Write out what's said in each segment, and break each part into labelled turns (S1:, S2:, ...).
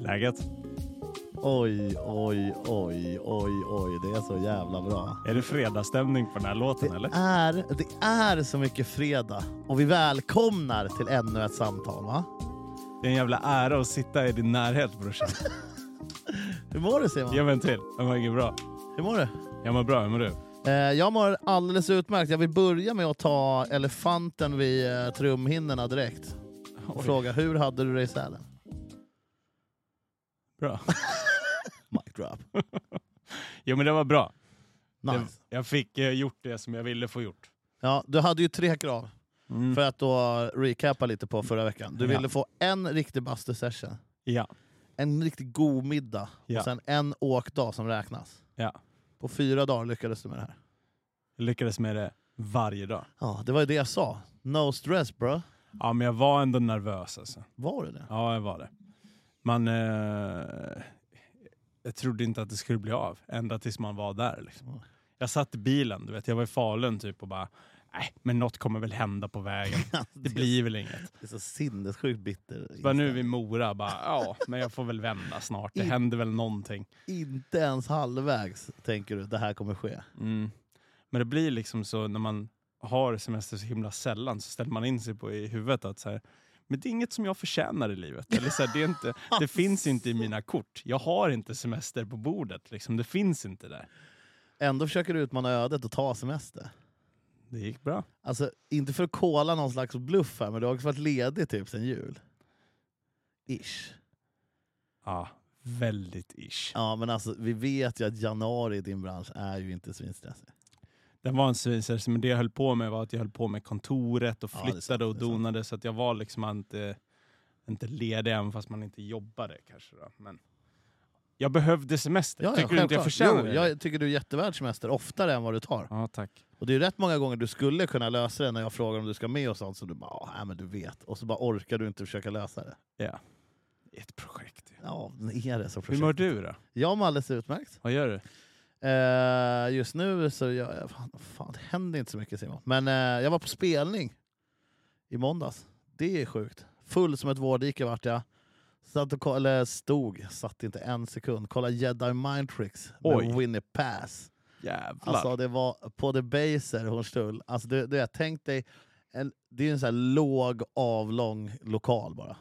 S1: läget?
S2: Oj, oj, oj, oj, oj. Det är så jävla bra.
S1: Är det fredagsstämning på den här låten eller?
S2: Är, det är så mycket fredag och vi välkomnar till ännu ett samtal. va?
S1: Det är en jävla ära att sitta i din närhet brorsan.
S2: Hur mår du Simon?
S1: Ge mig en till. Jag mår inget bra.
S2: Hur mår du?
S1: Jag mår bra, hur mår du?
S2: Eh, jag mår alldeles utmärkt. Jag vill börja med att ta elefanten vid eh, trumhinnorna direkt. Och
S1: Oj.
S2: fråga hur hade du det i Sälen?
S1: Bra.
S2: Mic drop.
S1: Jo men det var bra. Det,
S2: Nice.
S1: jag fick eh, gjort det som jag ville få gjort.
S2: Ja, du hade ju tre krav. För att då recapa lite på förra veckan. Du
S1: Mm. Ja.
S2: ville få en riktig bastu session,
S1: Ja.
S2: en riktigt god middag
S1: Ja.
S2: och sen en åkdag som räknas.
S1: ja.
S2: På fyra dagar lyckades du med det här.
S1: Jag lyckades med det varje dag.
S2: Ja, det var ju det jag sa. No stress bro.
S1: Ja men jag var ändå nervös alltså.
S2: Var det det?
S1: Ja, jag var det. Man... Eh, jag trodde inte att det skulle bli av, ända tills man var där. Liksom. Jag satt i bilen, du vet, jag var i Falun typ och bara, nej, men något kommer väl hända på vägen. Det blir väl inget.
S2: Det är så sinnessjukt bitter.
S1: Bara nu är vi i Mora, bara, ja, men jag får väl vända snart. Det händer väl någonting.
S2: Inte ens halvvägs tänker du det här kommer ske.
S1: Mm. Men det blir liksom så när man har semester så himla sällan så ställer man in sig på i huvudet att så här, men det är inget som jag förtjänar i livet. Eller så här, det, är inte, det finns inte i mina kort. Jag har inte semester på bordet. Liksom. Det finns inte där.
S2: Ändå försöker du utmana ödet och ta semester.
S1: Det gick bra.
S2: Alltså, inte för att kolla någon slags bluff här, men du har också varit ledig typ sen jul. Ish.
S1: Ja, väldigt ish.
S2: Ja, men alltså vi vet ju att januari i din bransch är ju inte svinstressig.
S1: Den var en svinstress, men det jag höll på med var att jag höll på med kontoret och
S2: Ja, det är sant,
S1: flyttade och
S2: det är sant.
S1: donade så att jag var liksom inte, inte ledig även fast man inte jobbade kanske. Då. Men jag behövde semester. Tycker du inte jag
S2: självklart.
S1: förtjänar
S2: jo,
S1: det?
S2: Jag tycker du är jättevärd semester, oftare än vad du tar.
S1: Ja, tack.
S2: Och det är ju rätt många gånger du skulle kunna lösa det när jag frågar om du ska med och sånt, så du bara "Ah, nej, men du vet. Och så bara orkar du inte försöka lösa det.
S1: Ja. Ett projekt.
S2: Ja, det är det som
S1: Hur
S2: projekt.
S1: mår du då?
S2: Jag mår alldeles utmärkt.
S1: Vad gör du?
S2: Eh, just nu så gör jag... Fan, fan, det händer inte så mycket Simon. Men eh, jag var på spelning i måndags. Det är sjukt. Full som ett vårdike vart jag. Satt och ko- eller stod, satt inte en sekund. Kolla Jedi Mind Tricks med
S1: Oj.
S2: Winnie Pass.
S1: Jävlar.
S2: Alltså det var på The Baser, Hornstull. Alltså det, det, jag tänkte dig, en, det är ju en sån här låg avlång lokal bara.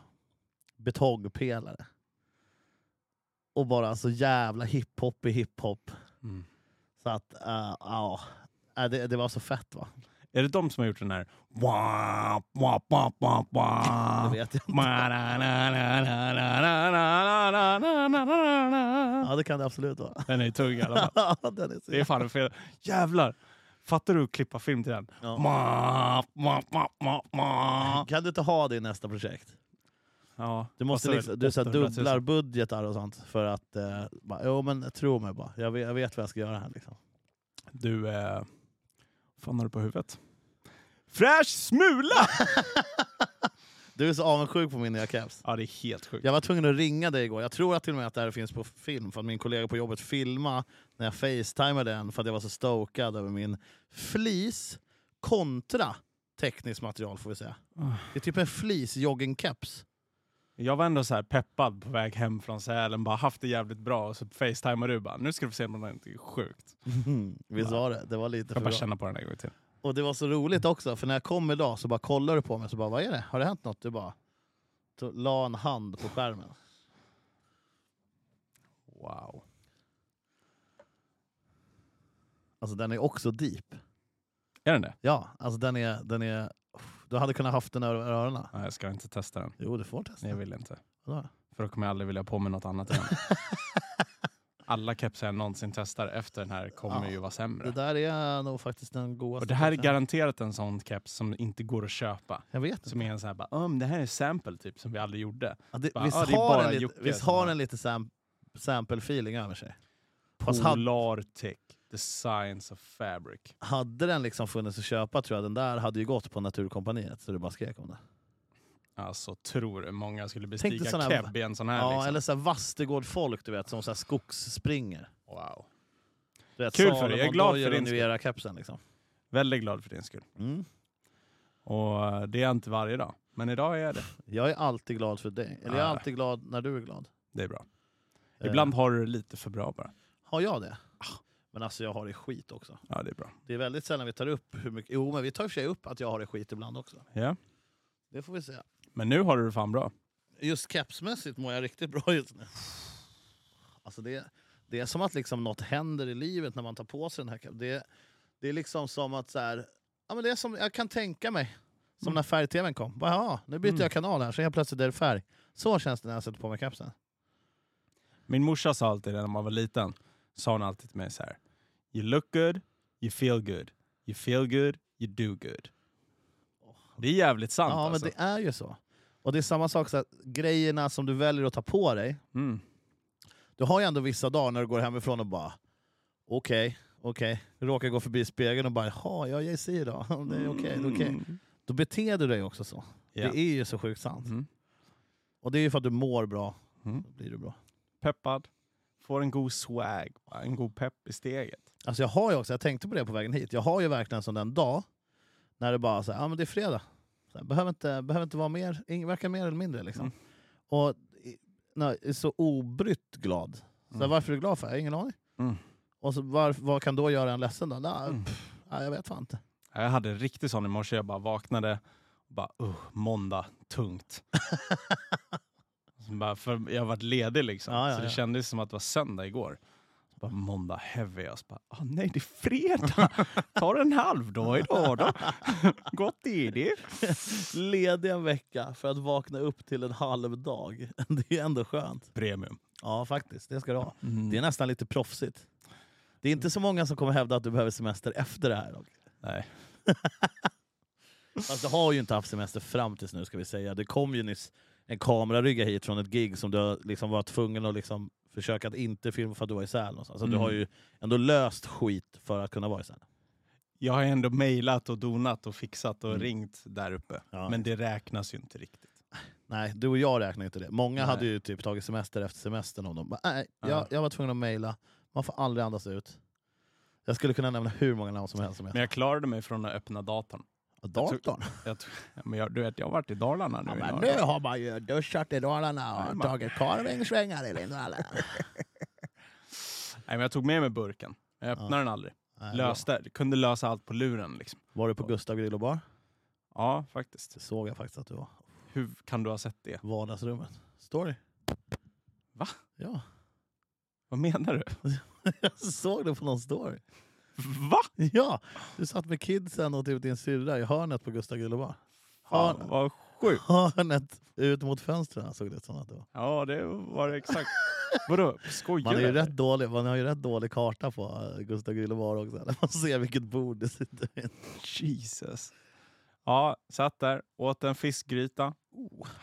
S2: Betongpelare. Och bara så jävla hiphop i hiphop.
S1: Mm.
S2: Så att, eh, ja. Eh, det, det var så fett va?
S1: Är det de som har gjort den här... Wap, wap, wap, wap,
S2: Det
S1: wap.
S2: vet jag inte.
S1: Ma-ra-ra-ra-ra-ra-ra-ra-ra-ra-ra-ra.
S2: Ja det kan det absolut vara.
S1: Den är tung i alla fall.
S2: Den är så
S1: Det är fan en fel... Jävlar! Fattar du att klippa film till den?
S2: Ja.
S1: Ma, ma, ma, ma, ma.
S2: Kan du inte ha det i nästa projekt?
S1: Ja.
S2: Du måste
S1: Kostar väl
S2: liksom, du så här
S1: 800 000.
S2: dubblar budgetar och sånt för att... Eh, bara, jo men tro mig bara, jag vet, jag vet vad jag ska göra här liksom.
S1: Du, eh, vad fan har du på huvudet? Fräsch smula!
S2: Du är så avundsjuk på min nya keps.
S1: ja, det är helt sjukt.
S2: Jag var tvungen att ringa dig igår, jag tror att till och med att det här finns på film för att min kollega på jobbet filmade när jag facetimade den för att jag var så stokad över min flis kontra tekniskt material får vi säga.
S1: Ah.
S2: Det är typ en flis joggingkeps.
S1: Jag var ändå så här peppad på väg hem från Sälen, bara haft det jävligt bra och så facetimar du bara, nu ska du få se om det är sjukt.
S2: Visst var Mm, det? Det var lite för
S1: Jag bara
S2: bra.
S1: känna på den en gång till.
S2: Och det var så roligt också, för när jag kom idag så bara kollade du på mig så bara, vad är det? Har det hänt något? Du bara to- la en hand på skärmen.
S1: Wow.
S2: Alltså den är också deep.
S1: Är den det?
S2: Ja, alltså den är... Den är du hade kunnat haft den över öronen.
S1: Nej, jag ska inte testa den.
S2: Jo, du får testa.
S1: Nej, jag vill inte.
S2: Vadå?
S1: För då kommer jag aldrig vilja ha på mig något annat igen. Alla kepsar jag någonsin testar efter den här kommer
S2: Ja,
S1: ju vara sämre.
S2: Det där är nog faktiskt den godaste.
S1: och det här är
S2: kepsen.
S1: garanterat en sån keps som inte går att köpa.
S2: Jag vet inte.
S1: Som är en sån här, bara, "Ja, men det här är sample typ som vi aldrig gjorde.
S2: Ja, det,
S1: Bara,
S2: visst
S1: "Ah, det är
S2: har,
S1: bara
S2: den lite,
S1: Jocke
S2: visst
S1: som
S2: har
S1: har-
S2: den lite sam, sample-feeling över sig? Fast hade,
S1: Polartech, the science of fabric.
S2: hade den liksom funnits att köpa tror jag den där hade ju gått på Naturkompaniet så du bara skrek om det.
S1: Alltså tror du många skulle
S2: dig
S1: bestiga
S2: sån här-
S1: keb i en sån här?
S2: ja,
S1: liksom.
S2: eller så här Vastegård-folk du vet som så här skogsspringer.
S1: Wow.
S2: Du vet,
S1: Kul för dig. Jag är glad för din skull.
S2: din kepsen liksom.
S1: Väldigt glad för din skull.
S2: Mm.
S1: Och eh, det är jag inte varje dag. Men idag är jag det.
S2: Jag är alltid glad för dig. Eller jag är
S1: Ah.
S2: alltid glad när du är glad.
S1: Det är bra.
S2: Eh,
S1: Ibland har du det lite för bra bara.
S2: har jag det. Men alltså jag har det skit också.
S1: Ja, det är bra.
S2: Det är väldigt sällan vi tar upp hur mycket... Jo, men vi tar i och för sig upp att jag har det skit ibland också.
S1: Ja.
S2: Det får vi se.
S1: Men nu har du det fan bra.
S2: Just kepsmässigt mår jag riktigt bra just nu. Alltså det, det är som att liksom något händer i livet när man tar på sig den här kepsen. Det, det är liksom som att... Så här, ja, men det är som, jag kan tänka mig. Som
S1: Mm.
S2: när färg-tvn kom. Bara, Ja, nu byter
S1: Mm.
S2: jag kanal här så helt plötsligt är det färg. Så känns det när jag sätter på mig kepsen.
S1: Min morsa sa alltid det när man var liten. Sa hon alltid till mig så här. You look good, you feel good. You feel good, you do good. Det är jävligt sant
S2: Ja,
S1: alltså.
S2: men det är ju så. Och det är samma sak, så att grejerna som du väljer att ta på dig.
S1: Mm.
S2: Du har ju ändå vissa dagar när du går hemifrån och bara okej, okej. Du råkar gå förbi spegeln och bara jaha, jag är JC idag. Det är okej, det är okej.
S1: Mm.
S2: Då beter du dig också så.
S1: Ja.
S2: Det är ju så sjukt sant.
S1: Mm.
S2: Och det är ju för att du mår bra.
S1: Mm.
S2: Då blir du bra.
S1: Peppad. Får en god swag. En god pepp i steget.
S2: Alltså jag har ju också, jag tänkte på det på vägen hit, jag har ju verkligen en sån där dag när det bara såhär, ja men det är fredag. Så här, behöver, inte, behöver inte vara mer, ing- varken mer eller mindre liksom.
S1: Mm.
S2: Och i- när jag är så obrytt glad. Så här,
S1: Mm.
S2: Varför är du glad för? Jag har ingen aning.
S1: Mm.
S2: Och så, var, vad kan då göra en ledsen då? Nej,
S1: Mm.
S2: pff, nej, jag vet fan inte.
S1: Ja, Jag hade en riktig sån i morse. Jag bara vaknade och bara uh, måndag, tungt. Så bara, för jag har varit ledig liksom.
S2: Ja, ja,
S1: så det
S2: ja.
S1: kändes som att det var söndag igår. Så bara, måndag heavy. Jag så bara, ah, nej det är fredag. Ta en halv dag idag då. Gott är det.
S2: Ledig en vecka för att vakna upp till en halv dag. Det är ändå skönt.
S1: Premium.
S2: Ja faktiskt, det ska du ha.
S1: Mm.
S2: Det är nästan lite proffsigt. Det är inte så många som kommer hävda att du behöver semester efter det här. dock.
S1: Nej.
S2: Fast du har ju inte haft semester fram tills nu ska vi säga. Det kom ju nyss en kamerarygga hit från ett gig som du liksom var tvungen att liksom försöka att inte filma för att du var i Sälen. och så. Alltså, Du
S1: Mm.
S2: har ju ändå löst skit för att kunna vara i Sälen.
S1: Jag har ändå mejlat och donat och fixat och
S2: Mm.
S1: ringt där uppe.
S2: Ja.
S1: Men det räknas ju inte riktigt.
S2: Nej, du och jag räknar inte det. Många
S1: Nej.
S2: hade ju typ tagit semester efter semestern om de bara, nej,
S1: Ja.
S2: jag, jag var tvungen att mejla. Man får aldrig andas ut. Jag skulle kunna nämna hur många namn som helst. Som jag.
S1: Men jag klarade mig från att öppna datorn.
S2: Datorn?
S1: Jag, tog- men jag, du vet, jag har varit i Dalarna nu.
S2: Ja,
S1: i
S2: men
S1: några
S2: nu
S1: dagar.
S2: har man ju duschat i Dalarna
S1: Nej,
S2: och
S1: man-
S2: tagit karvingsvängar i Lindvallen.
S1: Nej, men jag tog med mig burken. Jag öppnade den aldrig.
S2: Nej,
S1: Löste, kunde lösa allt på luren. Liksom.
S2: Var du på Gustav Grill och bar?
S1: Ja, faktiskt.
S2: Det såg jag faktiskt att du var.
S1: Hur kan du ha sett det?
S2: Vardagsrummet. Story.
S1: Va?
S2: Ja,
S1: Vad menar du?
S2: jag såg det på någon story.
S1: Va?
S2: Ja, du satt med kidsen och typ din syrra i hörnet på Gustav Grill och bar.
S1: Fan,
S2: Hörnet.
S1: vad sjukt.
S2: Hörnet ut mot fönstren såg det som att det var.
S1: Ja, det var det exakt. Vadå? Skojar
S2: Man, är ju
S1: du?
S2: rätt dålig, man har ju rätt dålig karta på eh, Gustav Grill och bar också. Där man ser vilket bord det sitter vid.
S1: Jesus. Ja, satt där, åt en fiskgryta.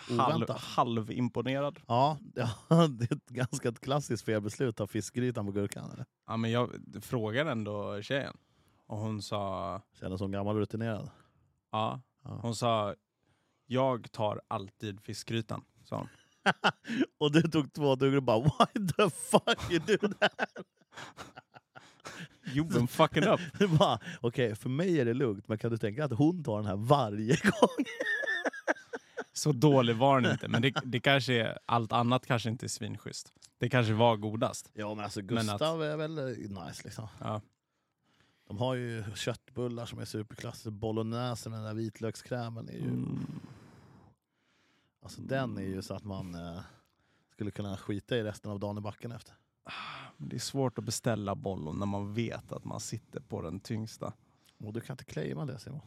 S1: Halv,
S2: oväntat.
S1: halvimponerad.
S2: Ja, ja, det är ett ganska ett klassiskt felbeslut av fiskgrytan på gurkan. Eller?
S1: Ja, men jag frågade ändå tjejen. Och hon sa...
S2: Känner som gammal rutinerad.
S1: Ja,
S2: Ja.
S1: hon sa... Jag tar alltid fiskgrytan, sa hon.
S2: Och du tog två tuggar och bara why the fuck you do that?
S1: You've been fucking up.
S2: Du bara, Okej, för mig är det lugnt, men kan du tänka att hon tar den här varje gång?
S1: Så dålig var den inte. Men det, det kanske är, allt annat kanske inte är svinschysst. Det kanske var godast.
S2: Ja men alltså
S1: Men att-
S2: Gustav är väl eh, nice liksom.
S1: Ja.
S2: De har ju köttbullar som är superklassiska, bolognese med den där vitlökskrämen är ju...
S1: Mm.
S2: Alltså den är ju så att man eh, skulle kunna skita i resten av dagen i backen efter.
S1: Men Det är svårt att beställa bollon när man vet att man sitter på den tyngsta.
S2: Och du kan inte claima det Simon.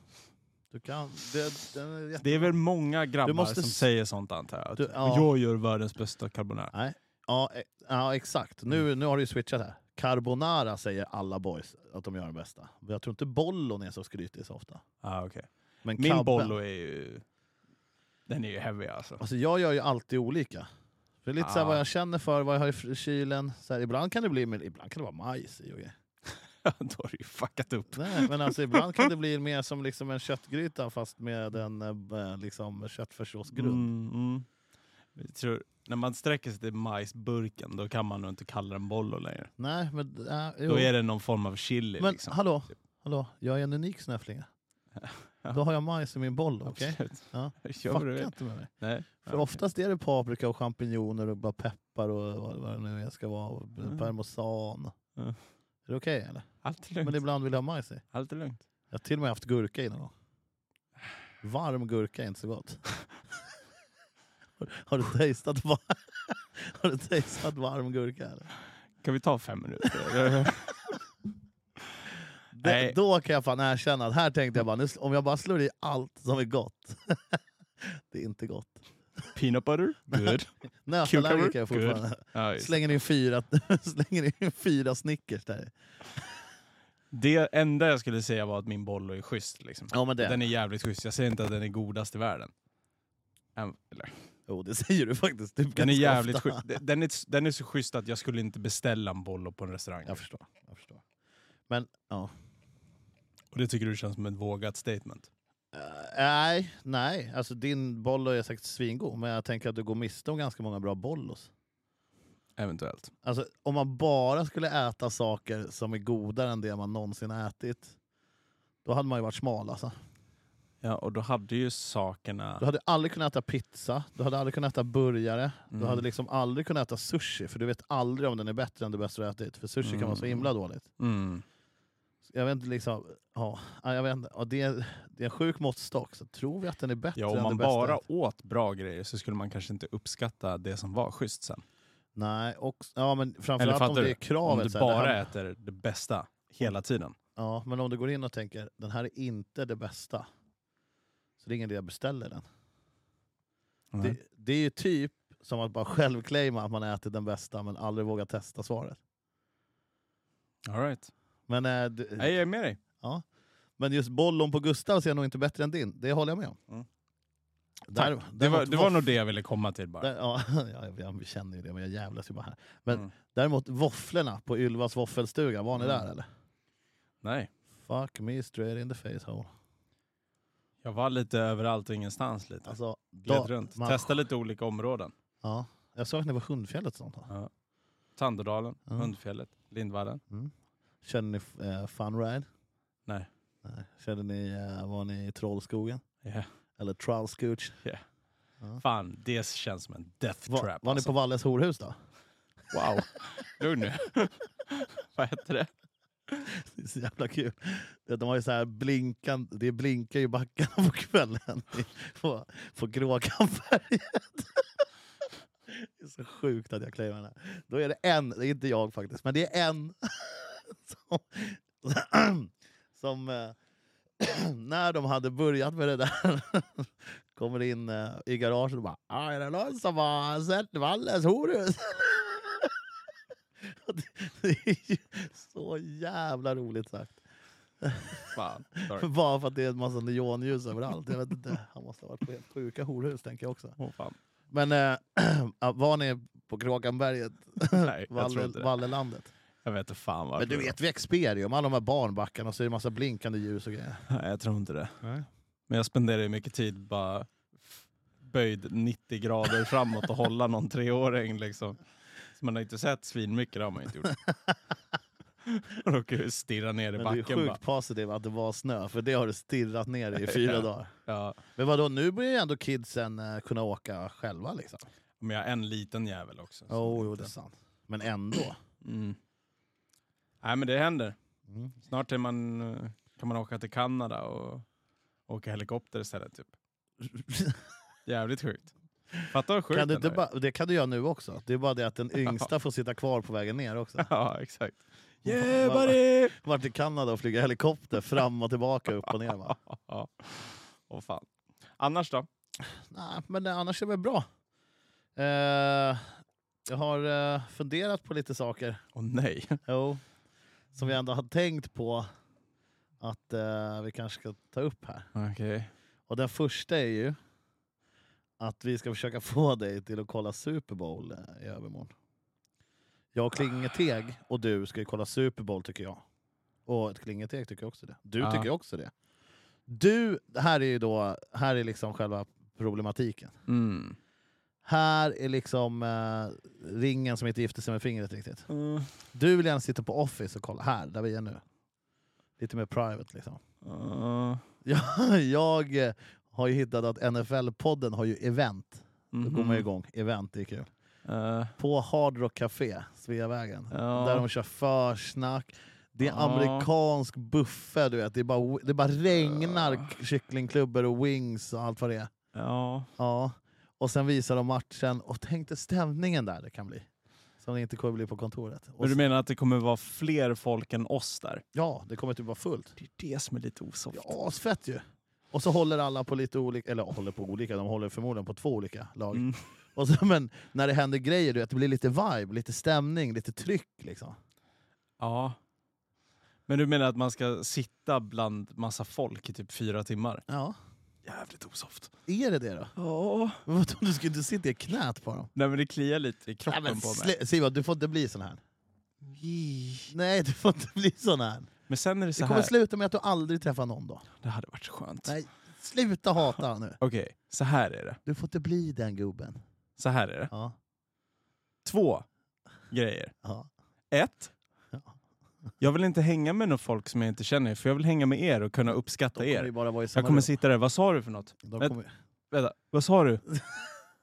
S2: Du kan... Det, den är jätte...
S1: Det är väl många grabbar
S2: Du måste
S1: som
S2: s-
S1: säger sånt antar jag. Att
S2: Du- ja.
S1: Jag gör världens bästa carbonara.
S2: ja, e- ja exakt,
S1: Mm.
S2: nu, nu har du ju switchat här. Carbonara säger alla boys att de gör det bästa. Men Jag tror inte bollon är så skrytig så ofta.
S1: Ah, okay.
S2: Men
S1: Min
S2: kabben-
S1: bollo är ju... Den är ju heavy alltså.
S2: Alltså jag gör ju alltid olika. För det är lite så här
S1: Ja.
S2: vad jag känner för, vad jag har i fr- kylen. Så här, ibland kan det bli men ibland kan det vara majs i och grejer.
S1: Då har du ju fuckat upp.
S2: Nej, men alltså ibland kan det bli mer som liksom en köttgryta fast med en eh, b- liksom köttfärssåsgrund.
S1: Mm, mm. Jag tror, när man sträcker sig till majsburken då kan man nog inte kalla den bollo längre.
S2: Nej, men... Äh, jo.
S1: Då är det någon form av chili.
S2: men
S1: liksom.
S2: hallå, hallå, jag är en unik snöflinga. Då har jag majs i min boll, okej?
S1: Absolut.
S2: Ja.
S1: Gör vad du
S2: Fucka
S1: vill.
S2: inte med mig.
S1: Nej.
S2: För oftast är det paprika och champinjoner och bara peppar koppar och vad, vad det nu är ska vara. och
S1: Mm.
S2: Parmesan.
S1: Ja.
S2: Är det okej eller?
S1: Allt är lugnt.
S2: Men ibland vill jag ha majs i.
S1: Allt är lugnt.
S2: Jag har till och med haft gurka i någon gång. Varm gurka är inte så gott. har, har du tastat var- har du tastat varm gurka? Eller?
S1: Kan vi ta fem minuter?
S2: Det,
S1: Nej.
S2: då kan jag fan erkänna att här tänkte jag bara, nu, sl- om jag bara slår i allt som är gott. det är inte gott.
S1: Peanut butter? Good.
S2: Nötallergiker är jag
S1: Cucumber? Good.
S2: fortfarande.
S1: Ja, just det.
S2: Slänger in fyra, slänger in fyra Snickers där.
S1: det enda jag skulle säga var att min boll är schysst. Liksom.
S2: Ja men det.
S1: Den är jävligt schysst. Jag säger inte att den är godast i världen. Äm, Eller,
S2: Jo det säger du faktiskt. Typ
S1: den är
S2: ganska
S1: jävligt
S2: ofta.
S1: schysst. Den är, den är så schysst att jag skulle inte beställa en bollo på en restaurang.
S2: Jag förstår. Jag förstår. Men ja.
S1: Och det tycker du känns som ett vågat statement?
S2: Eh, nej, nej. Alltså din bollo är säkert svingod men jag tänker att du går miste om ganska många bra bollos.
S1: Eventuellt.
S2: Alltså om man bara skulle äta saker som är godare än det man någonsin har ätit. Då hade man ju varit smal alltså.
S1: Ja, och då hade ju sakerna...
S2: Du hade aldrig kunnat äta pizza, du hade aldrig kunnat äta burgare, du
S1: Mm.
S2: hade liksom aldrig kunnat äta sushi för du vet aldrig om den är bättre än det bästa du ätit. För sushi kan vara så
S1: Mm.
S2: himla dåligt.
S1: Mm.
S2: Jag vet inte, liksom, ja, ja, jag vet inte, ja, det, är, det är en sjuk måttstock, så tror vi att den är bättre
S1: Ja, om
S2: än
S1: man
S2: det bästa?
S1: bara åt bra grejer så skulle man kanske inte uppskatta det som var schysst sen.
S2: Nej, och, ja, men
S1: Eller
S2: framförallt om
S1: fattar
S2: det
S1: du?
S2: är kravet.
S1: Om du
S2: så här, det
S1: bara
S2: här-
S1: äter det bästa hela tiden.
S2: ja, men om du går in och tänker, den här är inte det bästa. Så det är ingen idé jag beställer den.
S1: Det,
S2: Det, det är ju typ som att bara självclaima att man äter den bästa men aldrig våga testa svaret.
S1: All right.
S2: Men, eh, du-
S1: Nej, jag är med dig.
S2: Men just bollon på Gustavs är nog inte bättre än din, det håller jag med om.
S1: Mm.
S2: Där,
S1: Det var,
S2: däremot
S1: det var
S2: våff-
S1: nog det jag ville komma till bara.
S2: Där, ja, ja, jag- jag känner ju det, men jag jävlas ju bara här. Men
S1: Mm.
S2: däremot våfflorna på Ylvas våffelstuga, var ni
S1: Mm.
S2: där eller?
S1: Nej,
S2: Fuck me straight in the face hole.
S1: jag var lite överallt och ingenstans lite.
S2: Alltså,
S1: Gled
S2: da-
S1: runt.
S2: man-
S1: Testa lite olika områden.
S2: Ja, jag såg att ni var Hundfjället och sånt. va?
S1: Tandådalen,
S2: Ja.
S1: Hundfjället, Lindvallen.
S2: Körde ni eh, fun ride?
S1: Nej.
S2: Nej. Körde ni, eh, var ni i Trollskogen?
S1: Yeah.
S2: Eller Trollskooch?
S1: Fan, det känns som en death
S2: Var,
S1: trap.
S2: var
S1: alltså.
S2: ni på Valles horhus då?
S1: Wow. Lugn nu. Vad heter det?
S2: Det är så jävla kul. De har ju så här blinkande, det blinkar ju i backarna på kvällen i- på, på Gråkamberget. Det är så sjukt att jag claimar den här. Då är det en, det är inte jag faktiskt, men det är en som, som eh, när de hade börjat med det där kommer in eh, i garaget och bara "Ah, “Är det någon som har sett Valles horhus?” Och det- Det är ju så jävla roligt sagt.
S1: Fan.
S2: För
S1: Sorry.
S2: Bara för att det är en massa neonljus överallt. Jag vet inte. Han måste ha varit på helt sjuka horhus tänker jag också.
S1: Åh, fan.
S2: Men äh, var ni på Kråkanberget,
S1: Nej, jag tror
S2: Valle,
S1: inte det.
S2: Vallelandet?
S1: Jag vet inte fan varför.
S2: Men du
S1: det
S2: vet, vid Experium, alla de här barnbackarna och så är det massa blinkande ljus och grejer.
S1: var. Nej, jag tror inte det. Men jag spenderar ju mycket tid bara f- böjd 90 grader framåt och hålla någon treåring liksom. Så man har inte sett svinmycket, det har man ju inte gjort. Och då kan jag ju stirra ner i
S2: Men du är
S1: backen bara.
S2: sjukt positiv att det var snö, för det har du stirrat ner i i fyra
S1: Ja.
S2: dagar.
S1: Ja,
S2: Men vadå, nu börjar ju ändå kidsen eh, kunna åka själva liksom.
S1: men jag har en liten jävel också. så
S2: Jo,
S1: det är
S2: jo,
S1: inte-
S2: det är sant. Men ändå.
S1: Mm. Nej men det händer.
S2: Mm.
S1: Snart är man, eh, kan man åka till Kanada och åka helikopter istället. Typ. Jävligt sjukt. Fatta vad sjukt
S2: Kan du
S1: ändå
S2: inte
S1: är.
S2: ba- det kan du göra nu också. Det är bara det att den yngsta får sitta kvar på vägen ner också.
S1: Ja, exakt.
S2: Vad-
S1: Yeah buddy!
S2: varit i Kanada och flyga helikopter fram och tillbaka, upp och ner. Va?
S1: Ja. Åh fan. Annars då?
S2: Nej, men eh, annars är det väl bra. Eh, jag har eh, funderat på lite saker
S1: Åh nej.
S2: jo, som jag ändå har tänkt på att eh, vi kanske ska ta upp här.
S1: Okej.
S2: Och den första är ju att vi ska försöka få dig till att kolla Super Bowl eh, i övermorgon. Jag och Klingeteg och du ska ju kolla Super Bowl tycker jag. Och ett Klingeteg tycker också det. Du
S1: Ja.
S2: tycker också det. Du, här är ju då, här är liksom själva problematiken.
S1: Mm.
S2: Här är liksom eh, ringen som inte gifter sig med fingret riktigt.
S1: Uh,
S2: Du vill gärna sitta på Office och kolla här, där vi är nu. Lite mer private liksom.
S1: uh,
S2: Jag, jag
S1: mm.
S2: eh, har ju hittat att NFL-podden har ju event. Då går man igång. Event, det är kul.
S1: Eh,
S2: på Hard Rock Café, Sveavägen.
S1: Ja.
S2: Där de kör försnack. Det är
S1: Ja.
S2: amerikansk buffé, du vet. Det, är bara, det bara regnar
S1: Ja.
S2: kycklingklubbor och wings och allt vad det är.
S1: ja.
S2: Ja. Och sen visar de matchen och tänk dig stämningen där det kan bli. Som det inte kommer bli på kontoret. Och
S1: Men du
S2: s-
S1: menar att det kommer vara fler folk än oss där?
S2: ja, det kommer typ vara fullt.
S1: Det är det som är lite osoft.
S2: Det är asfett ju. Och så håller alla på lite olika, eller håller på olika, de håller förmodligen på två olika lag.
S1: Mm.
S2: Och så, men när det händer grejer, du vet, det blir lite vibe, lite stämning, lite tryck liksom.
S1: Ja. Men du menar att man ska sitta bland massa folk i typ fyra timmar?
S2: Ja.
S1: Jävligt osoft.
S2: Är det det då?
S1: Ja.
S2: Men Vadå, du ska inte sitta i knät på dem?
S1: Nej men det kliar lite i
S2: Nej,
S1: kroppen
S2: men
S1: på mig.
S2: slä- Siva, du får inte bli sån här. Nej, du får inte bli sån här.
S1: Men sen är det så
S2: Det
S1: här.
S2: kommer sluta med att du aldrig träffar någon då.
S1: Det hade varit så skönt.
S2: Nej, sluta hata nu.
S1: Okej, så här är det.
S2: Du får inte bli den gubben.
S1: Så här är det.
S2: Ja,
S1: Två grejer.
S2: ja.
S1: Ett.
S2: Ja.
S1: Jag vill inte hänga med några folk som jag inte känner, för jag vill hänga med er och kunna uppskatta
S2: De kommer ju
S1: er.
S2: bara vara i samma
S1: Jag kommer
S2: rum.
S1: sitta där, vad sa du för något?
S2: De kommer,
S1: Vänta, vad sa du?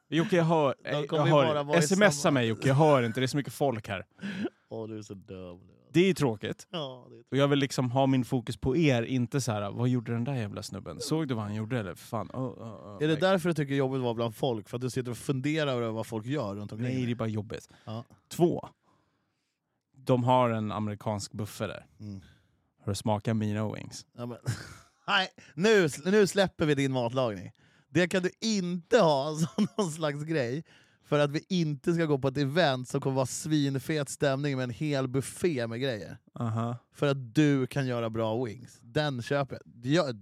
S1: Jocke, jag hör,
S2: De
S1: jag
S2: kommer ju bara vara
S1: hör
S2: i
S1: Smsa
S2: samma-
S1: mig Jocke, jag hör inte. Det är så mycket folk här.
S2: Åh, du är så dum.
S1: Det är ju tråkigt.
S2: Ja, det är
S1: Och jag vill liksom ha min fokus på er, inte så här, vad gjorde den där jävla snubben? Såg du vad han gjorde eller? Fan. Oh, oh, oh.
S2: är det därför du tycker jobbet var bland folk? För att du sitter och funderar över vad folk gör runt omkring
S1: Nej, det är
S2: dig?
S1: bara jobbigt.
S2: Ja.
S1: Två. De har en amerikansk buffé där.
S2: Mm.
S1: Har du smakat mina wings?
S2: Ja, men, nej, nu, nu släpper vi din matlagning. Det kan du inte ha som någon slags grej för att vi inte ska gå på ett event som kommer vara svinfet stämning med en hel buffé med grejer.
S1: Aha.
S2: För att du kan göra bra wings. Den köper jag. Det gör,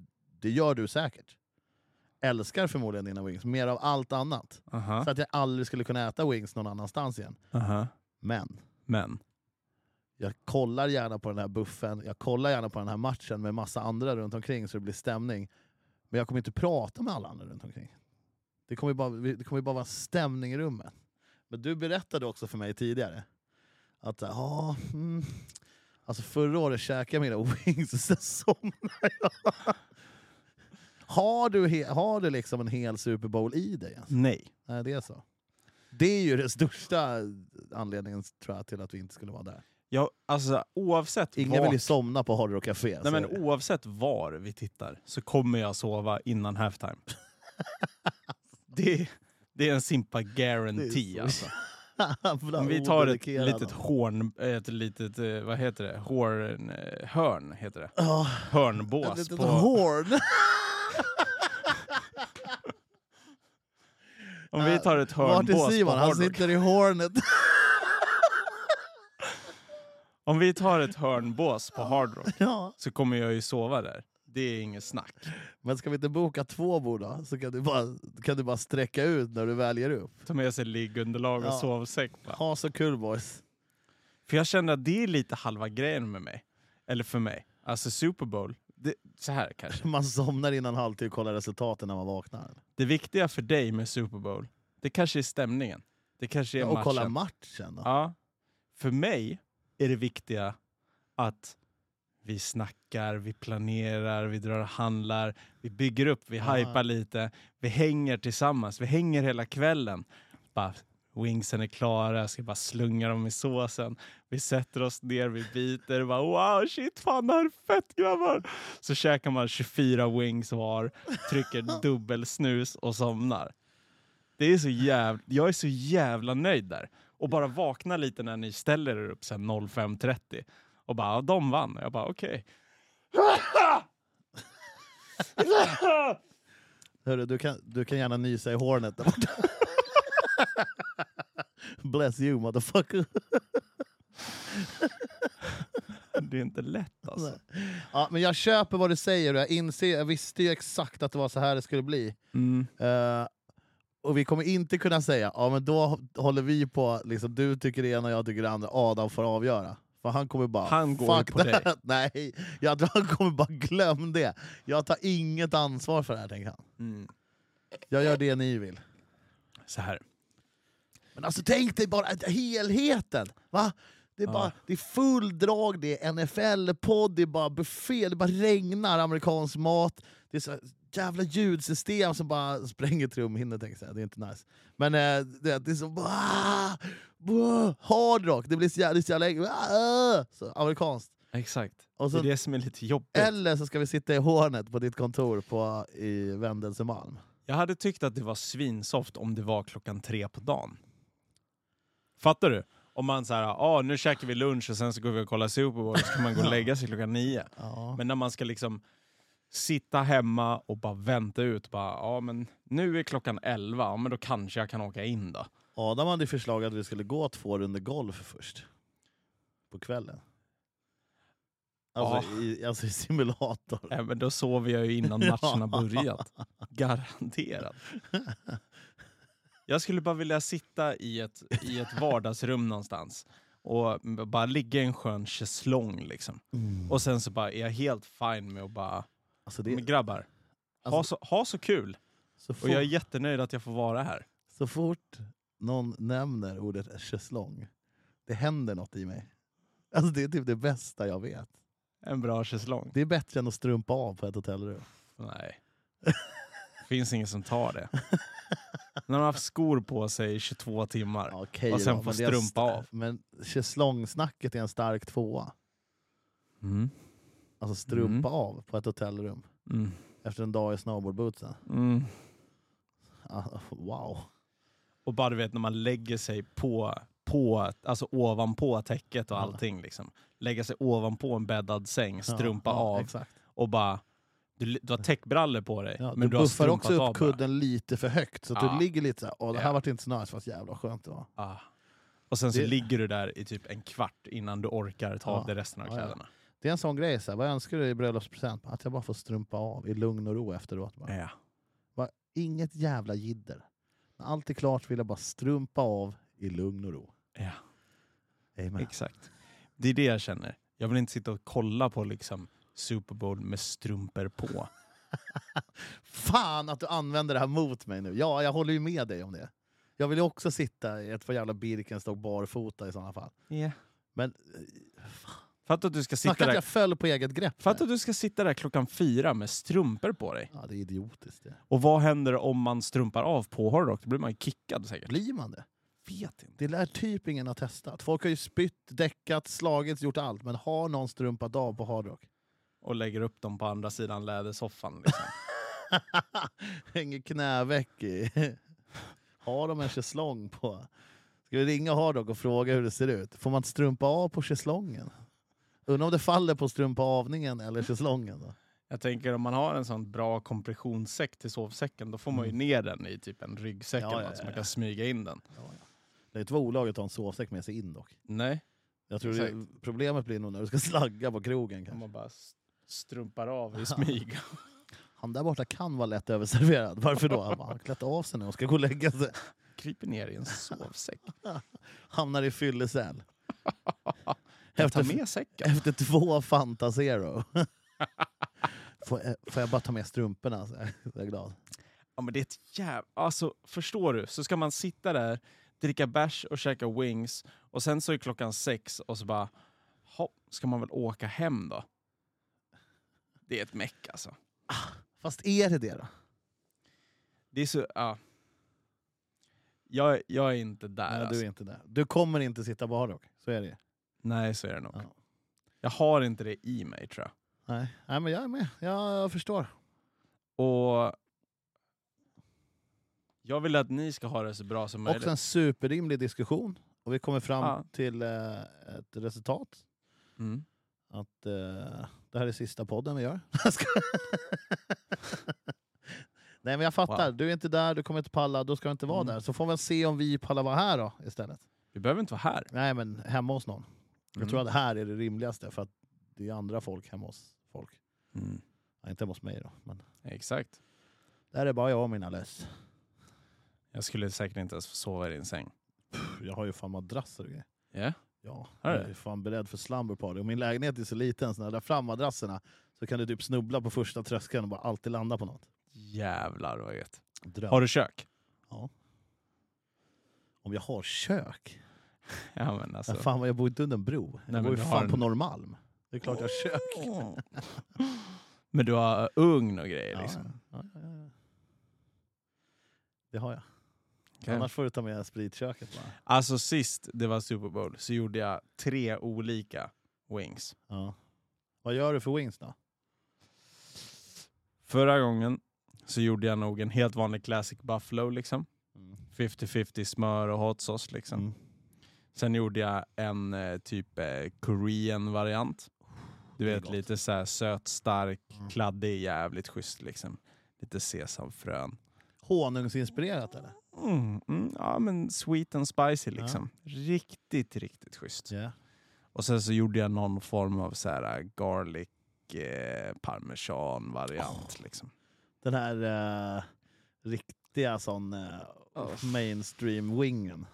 S2: det gör du säkert. Älskar förmodligen dina wings, mer av allt annat.
S1: Aha.
S2: Så att jag aldrig skulle kunna äta wings någon annanstans igen.
S1: Aha.
S2: Men
S1: Men.
S2: jag kollar gärna på den här buffen, jag kollar gärna på den här matchen med massa andra runt omkring så det blir stämning. Men jag kommer inte prata med alla andra runt omkring. Det kommer ju bara, det kommer ju bara vara stämning i rummet. Men du berättade också för mig tidigare att ja, mm, alltså förra året käkade jag mina wings och sen somnade jag. Har du, he, har du liksom en hel Super Bowl i dig? Alltså?
S1: Nej.
S2: Nej, det är så. Det är ju den största anledningen tror jag, till att vi inte skulle vara där.
S1: Jag, alltså, oavsett
S2: Ingen
S1: vart-
S2: vill ju somna på Hard Rock Café. alltså.
S1: Nej, men
S2: så-
S1: oavsett var vi tittar så kommer jag sova innan halftime. det, det är en simpa
S2: Det
S1: guarantee
S2: är så
S1: alltså.
S2: Jävla alltså.
S1: Om vi tar ett
S2: odedikerad.
S1: litet horn, ett litet, eh, vad heter det, horn, eh, hörn heter det.
S2: Ja, ett
S1: Hörnbås
S2: litet
S1: på...
S2: horn.
S1: Om vi tar ett
S2: Äh, Vart är
S1: hörnbås på
S2: Simon? Han
S1: Hard Rock.
S2: sitter i hornet.
S1: Om vi tar ett hörnbås på Hard Rock
S2: ja.
S1: så kommer jag ju sova där. Det är inget snack.
S2: Men ska vi inte boka två bord då? Så kan du, bara, kan du bara sträcka ut när du väljer upp.
S1: Ta med sig liggunderlag och
S2: Ja.
S1: sovsäck. bara.
S2: Ha så kul boys.
S1: För jag känner att det är lite halva grejen med mig. Eller för mig. Alltså Super Bowl, det, så här kanske.
S2: Man somnar innan halvtid och kollar resultaten när man vaknar.
S1: Det viktiga för dig med Super Bowl, det kanske är stämningen. Det kanske är
S2: Ja, och kolla
S1: matchen.
S2: matchen. Då.
S1: Ja. För mig är det viktiga att vi snackar, vi planerar, vi drar och handlar, vi bygger upp, vi
S2: Ja.
S1: hypar lite, vi hänger tillsammans, vi hänger hela kvällen. Bara, wingsen är klara, jag ska bara slunga dem i såsen. Vi sätter oss ner, vi biter, bara wow shit fan det här är fett grabbar. Så käkar man 24 wings var, trycker dubbelsnus och somnar. Det är så jävla, jag är så jävla nöjd där. Och bara vakna lite när ni ställer er upp sen 05.30 och bara ja, de vann. Och Jag bara okej.
S2: Hörru, du, kan, du kan gärna nysa i hornet där borta. Bless you motherfucker.
S1: Det är inte lätt alltså.
S2: Ja, men jag köper vad du säger och jag inser, jag visste ju exakt att det var så här det skulle bli.
S1: Mm.
S2: Eh, och vi kommer inte kunna säga, ja men då håller vi på, liksom, du tycker det ena och jag tycker det andra, Adam får avgöra. För han kommer bara,
S1: Han går ju på
S2: that. Nej, jag tror han kommer bara, glöm det. Jag tar inget ansvar för det här, tänker han.
S1: Mm.
S2: Jag gör det ni vill.
S1: Så här.
S2: Men alltså tänk dig bara att helheten! Va? Det är,
S1: Ja.
S2: bara, det är full drag, det är NFL-podd, det är bara buffé, det bara regnar amerikansk mat. Det är så, jävla ljudsystem som bara spränger trumhinnor. tänkte jag. Det är inte nice. Men eh, det, det är så... Ah, ah, hardrock, det blir så jävla... Det är så jävla ah, så amerikanskt.
S1: Exakt.
S2: Och
S1: Det
S2: så,
S1: är det som är lite jobbigt.
S2: eller så ska vi sitta i hornet på ditt kontor på, i Vendelsemalm.
S1: Jag hade tyckt att det var svinsoft om det var klockan tre på dagen. Fattar du? Om man så här, ah, nu käkar vi lunch och sen så går vi och kollar Super Bowl och så kan man gå och lägga sig klockan nio.
S2: Ja.
S1: Men när man ska liksom sitta hemma och bara vänta ut. Bara, ja, men nu är klockan elva, ja, men då kanske jag kan åka in då.
S2: Adam hade ju förslag att vi skulle gå två runder golf först. På kvällen. Alltså, i, alltså i simulator.
S1: Nej, men då sover jag ju innan matchen har
S2: Ja.
S1: börjat. Garanterat. Jag skulle bara vilja sitta i ett, i ett vardagsrum någonstans och bara ligga i en skön schäslong. Liksom. Och sen så bara är jag helt fine med att bara,
S2: Alltså
S1: men
S2: det,
S1: grabbar, ha,
S2: alltså,
S1: så, ha så kul.
S2: så, fort,
S1: Och jag är jättenöjd att jag får vara här.
S2: så fort någon nämner ordet schäslong, det händer något i mig. Alltså det är typ det bästa jag vet.
S1: En bra schäslong.
S2: Det är bättre än att strumpa av på ett hotellrum.
S1: Nej. Finns ingen som tar det. När man har haft skor på sig i 22 timmar.
S2: Ja, okej
S1: Och sen
S2: då,
S1: få
S2: men det är en
S1: strumpa
S2: sta-
S1: av.
S2: Men schäslongsnacket är en stark tvåa.
S1: Mm.
S2: Alltså strumpa av på ett hotellrum
S1: Mm.
S2: efter en dag i snowboardbootsen.
S1: Mm.
S2: Ah, wow.
S1: Och bara du vet när man lägger sig på, på alltså ovanpå täcket och
S2: Ja.
S1: allting. Liksom. Lägga sig ovanpå en bäddad säng, strumpa
S2: ja, ja,
S1: av
S2: Exakt.
S1: och bara... Du, du har täckbrallor på dig,
S2: Ja,
S1: men du,
S2: du
S1: har
S2: buffar
S1: strumpat
S2: också
S1: av
S2: upp
S1: bara.
S2: kudden lite för högt, så att
S1: Ja.
S2: du ligger lite såhär, åh det här
S1: Ja.
S2: vart inte så nice, fast jävla skönt det var.
S1: Ah. Och sen så
S2: Det-
S1: ligger du där i typ en kvart innan du orkar ta av
S2: Ja,
S1: dig resten av
S2: ja, ja.
S1: kläderna.
S2: Det är en sån grej, såhär, vad önskar du i bröllopspresent? Att jag bara får strumpa av i lugn och ro efteråt. Bara.
S1: Ja.
S2: Inget jävla jidder. När allt är klart vill jag bara strumpa av i lugn och ro.
S1: Ja.
S2: Amen.
S1: Exakt. Det är det jag känner. Jag vill inte sitta och kolla på liksom Super Bowl med strumpor på.
S2: Fan att du använder det här mot mig nu. Ja, jag håller ju med dig om det. Jag vill ju också sitta i ett par jävla Birkenstock barfota i sådana fall.
S1: Yeah.
S2: Men
S1: Fatta att du ska sitta
S2: snacka att
S1: där.
S2: jag föll på eget grepp.
S1: Fatta
S2: här.
S1: att du ska sitta där klockan fyra med strumpor på dig.
S2: Ja, det är idiotiskt det.
S1: Och vad händer om man strumpar av på hårdrock? Då blir man ju kickad säkert.
S2: Blir man det?
S1: Vet inte.
S2: Det lär typ ingen ha testat. Folk har ju spytt, däckat, slagits, gjort allt. Men har någon strumpat av på hardrock?
S1: Och lägger upp dem på andra sidan lädersoffan. Liksom.
S2: Hänger knäveck i. Har de en schäslong på? Ska vi ringa hardrock och fråga hur det ser ut? Får man strumpa av på schäslongen? Undrar om det faller på strumpa avningen eller schäslongen. Då.
S1: Jag tänker om man har en sån bra kompressionssäck till sovsäcken då får man ju ner den i typ en ryggsäck
S2: Ja,
S1: eller
S2: ja,
S1: något, så
S2: ja,
S1: man
S2: ja.
S1: kan smyga in den.
S2: Det är inte olagligt att ha en sovsäck med sig in dock.
S1: Nej,
S2: Jag tror det, problemet blir nog när du ska slagga på krogen.
S1: om
S2: Kanske.
S1: man bara s- strumpar av i smyg.
S2: Han där borta kan vara lätt överserverad. Varför då? Han bara, "Han har klätt av sig nu och ska gå och lägga sig.
S1: Kryper ner i en sovsäck.
S2: Hamnar i fyllecell.
S1: Jag tar
S2: Efter-
S1: med säcken.
S2: Efter två Fanta Zero. får, jag, får jag bara ta med strumporna? Så är jag glad.
S1: Ja, men det är ett jäv... Alltså, förstår du? Så ska man sitta där, dricka bärs och käka wings och sen så är klockan sex och så bara... Hopp, ska man väl åka hem då? Det är ett meck alltså.
S2: Fast är det det då?
S1: Det är så... Ja. Jag, jag är inte där
S2: Nej,
S1: alltså.
S2: du är inte där. Du kommer inte sitta på hardrock. Så är det ju.
S1: Nej, så är det nog.
S2: Ja.
S1: Jag har inte det i mig tror jag.
S2: Nej. Nej, men jag är med. Jag, jag förstår.
S1: Och... Jag vill att ni ska ha det så bra som möjligt.
S2: Också en superrimlig diskussion. Och vi kommer fram
S1: Ja.
S2: till eh, ett resultat.
S1: Mm.
S2: Att eh, det här är sista podden vi gör. Nej men jag fattar,
S1: Wow.
S2: du är inte där, du kommer inte palla, då ska du inte vara
S1: Mm.
S2: där. Så får vi väl se om vi pallar vara här då istället.
S1: Vi behöver inte vara här.
S2: Nej, men hemma hos någon.
S1: Mm.
S2: Jag tror att här är det rimligaste, för att det är andra folk hemma hos folk.
S1: Mm.
S2: Ja, inte hemma hos mig då, men
S1: Exakt.
S2: där är bara jag och mina löss.
S1: Jag skulle säkert inte ens få sova i din säng.
S2: Pff, Jag har ju fan madrasser och grejer.
S1: Ja.
S2: Ja,
S1: Har
S2: jag
S1: du?
S2: är fan beredd för slumber party. Och min lägenhet är så liten, så när jag drar fram madrasserna så kan du typ snubbla på första tröskeln och bara alltid landa på något.
S1: Jävlar vad gött.
S2: Dröm.
S1: Har du kök?
S2: Om jag har kök?
S1: Ja men
S2: Ja,
S1: alltså.
S2: fan vad jag bor inte under en bro.
S1: men
S2: jag bor ju
S1: du har
S2: fan på
S1: en-
S2: Norrmalm. Det är klart jag har kök.
S1: Åh. Men du har ugn och grejer
S2: Ja,
S1: liksom.
S2: ja, ja, ja, ja. Det har jag.
S1: Okej.
S2: Annars får du ta med spritköket bara.
S1: Alltså sist det var Super Bowl så gjorde jag tre olika wings.
S2: Ja. Vad gör du för wings då?
S1: Förra gången så gjorde jag nog en helt vanlig classic buffalo liksom.
S2: Mm.
S1: 50-50 smör och hot sauce liksom.
S2: Mm.
S1: Sen gjorde jag en eh, typ eh, korean variant. Du
S2: Det är
S1: vet
S2: gott.
S1: lite så här söt, stark,
S2: Mm.
S1: kladdig, jävligt schysst liksom. Lite sesamfrön.
S2: Honungsinspirerat eller?
S1: Mm, mm, ja men sweet and spicy liksom. Riktigt, riktigt schysst.
S2: Ja.
S1: Och sen så gjorde jag någon form av så här garlic eh, parmesan variant liksom.
S2: Den här eh, riktiga sån eh, mainstream wingen.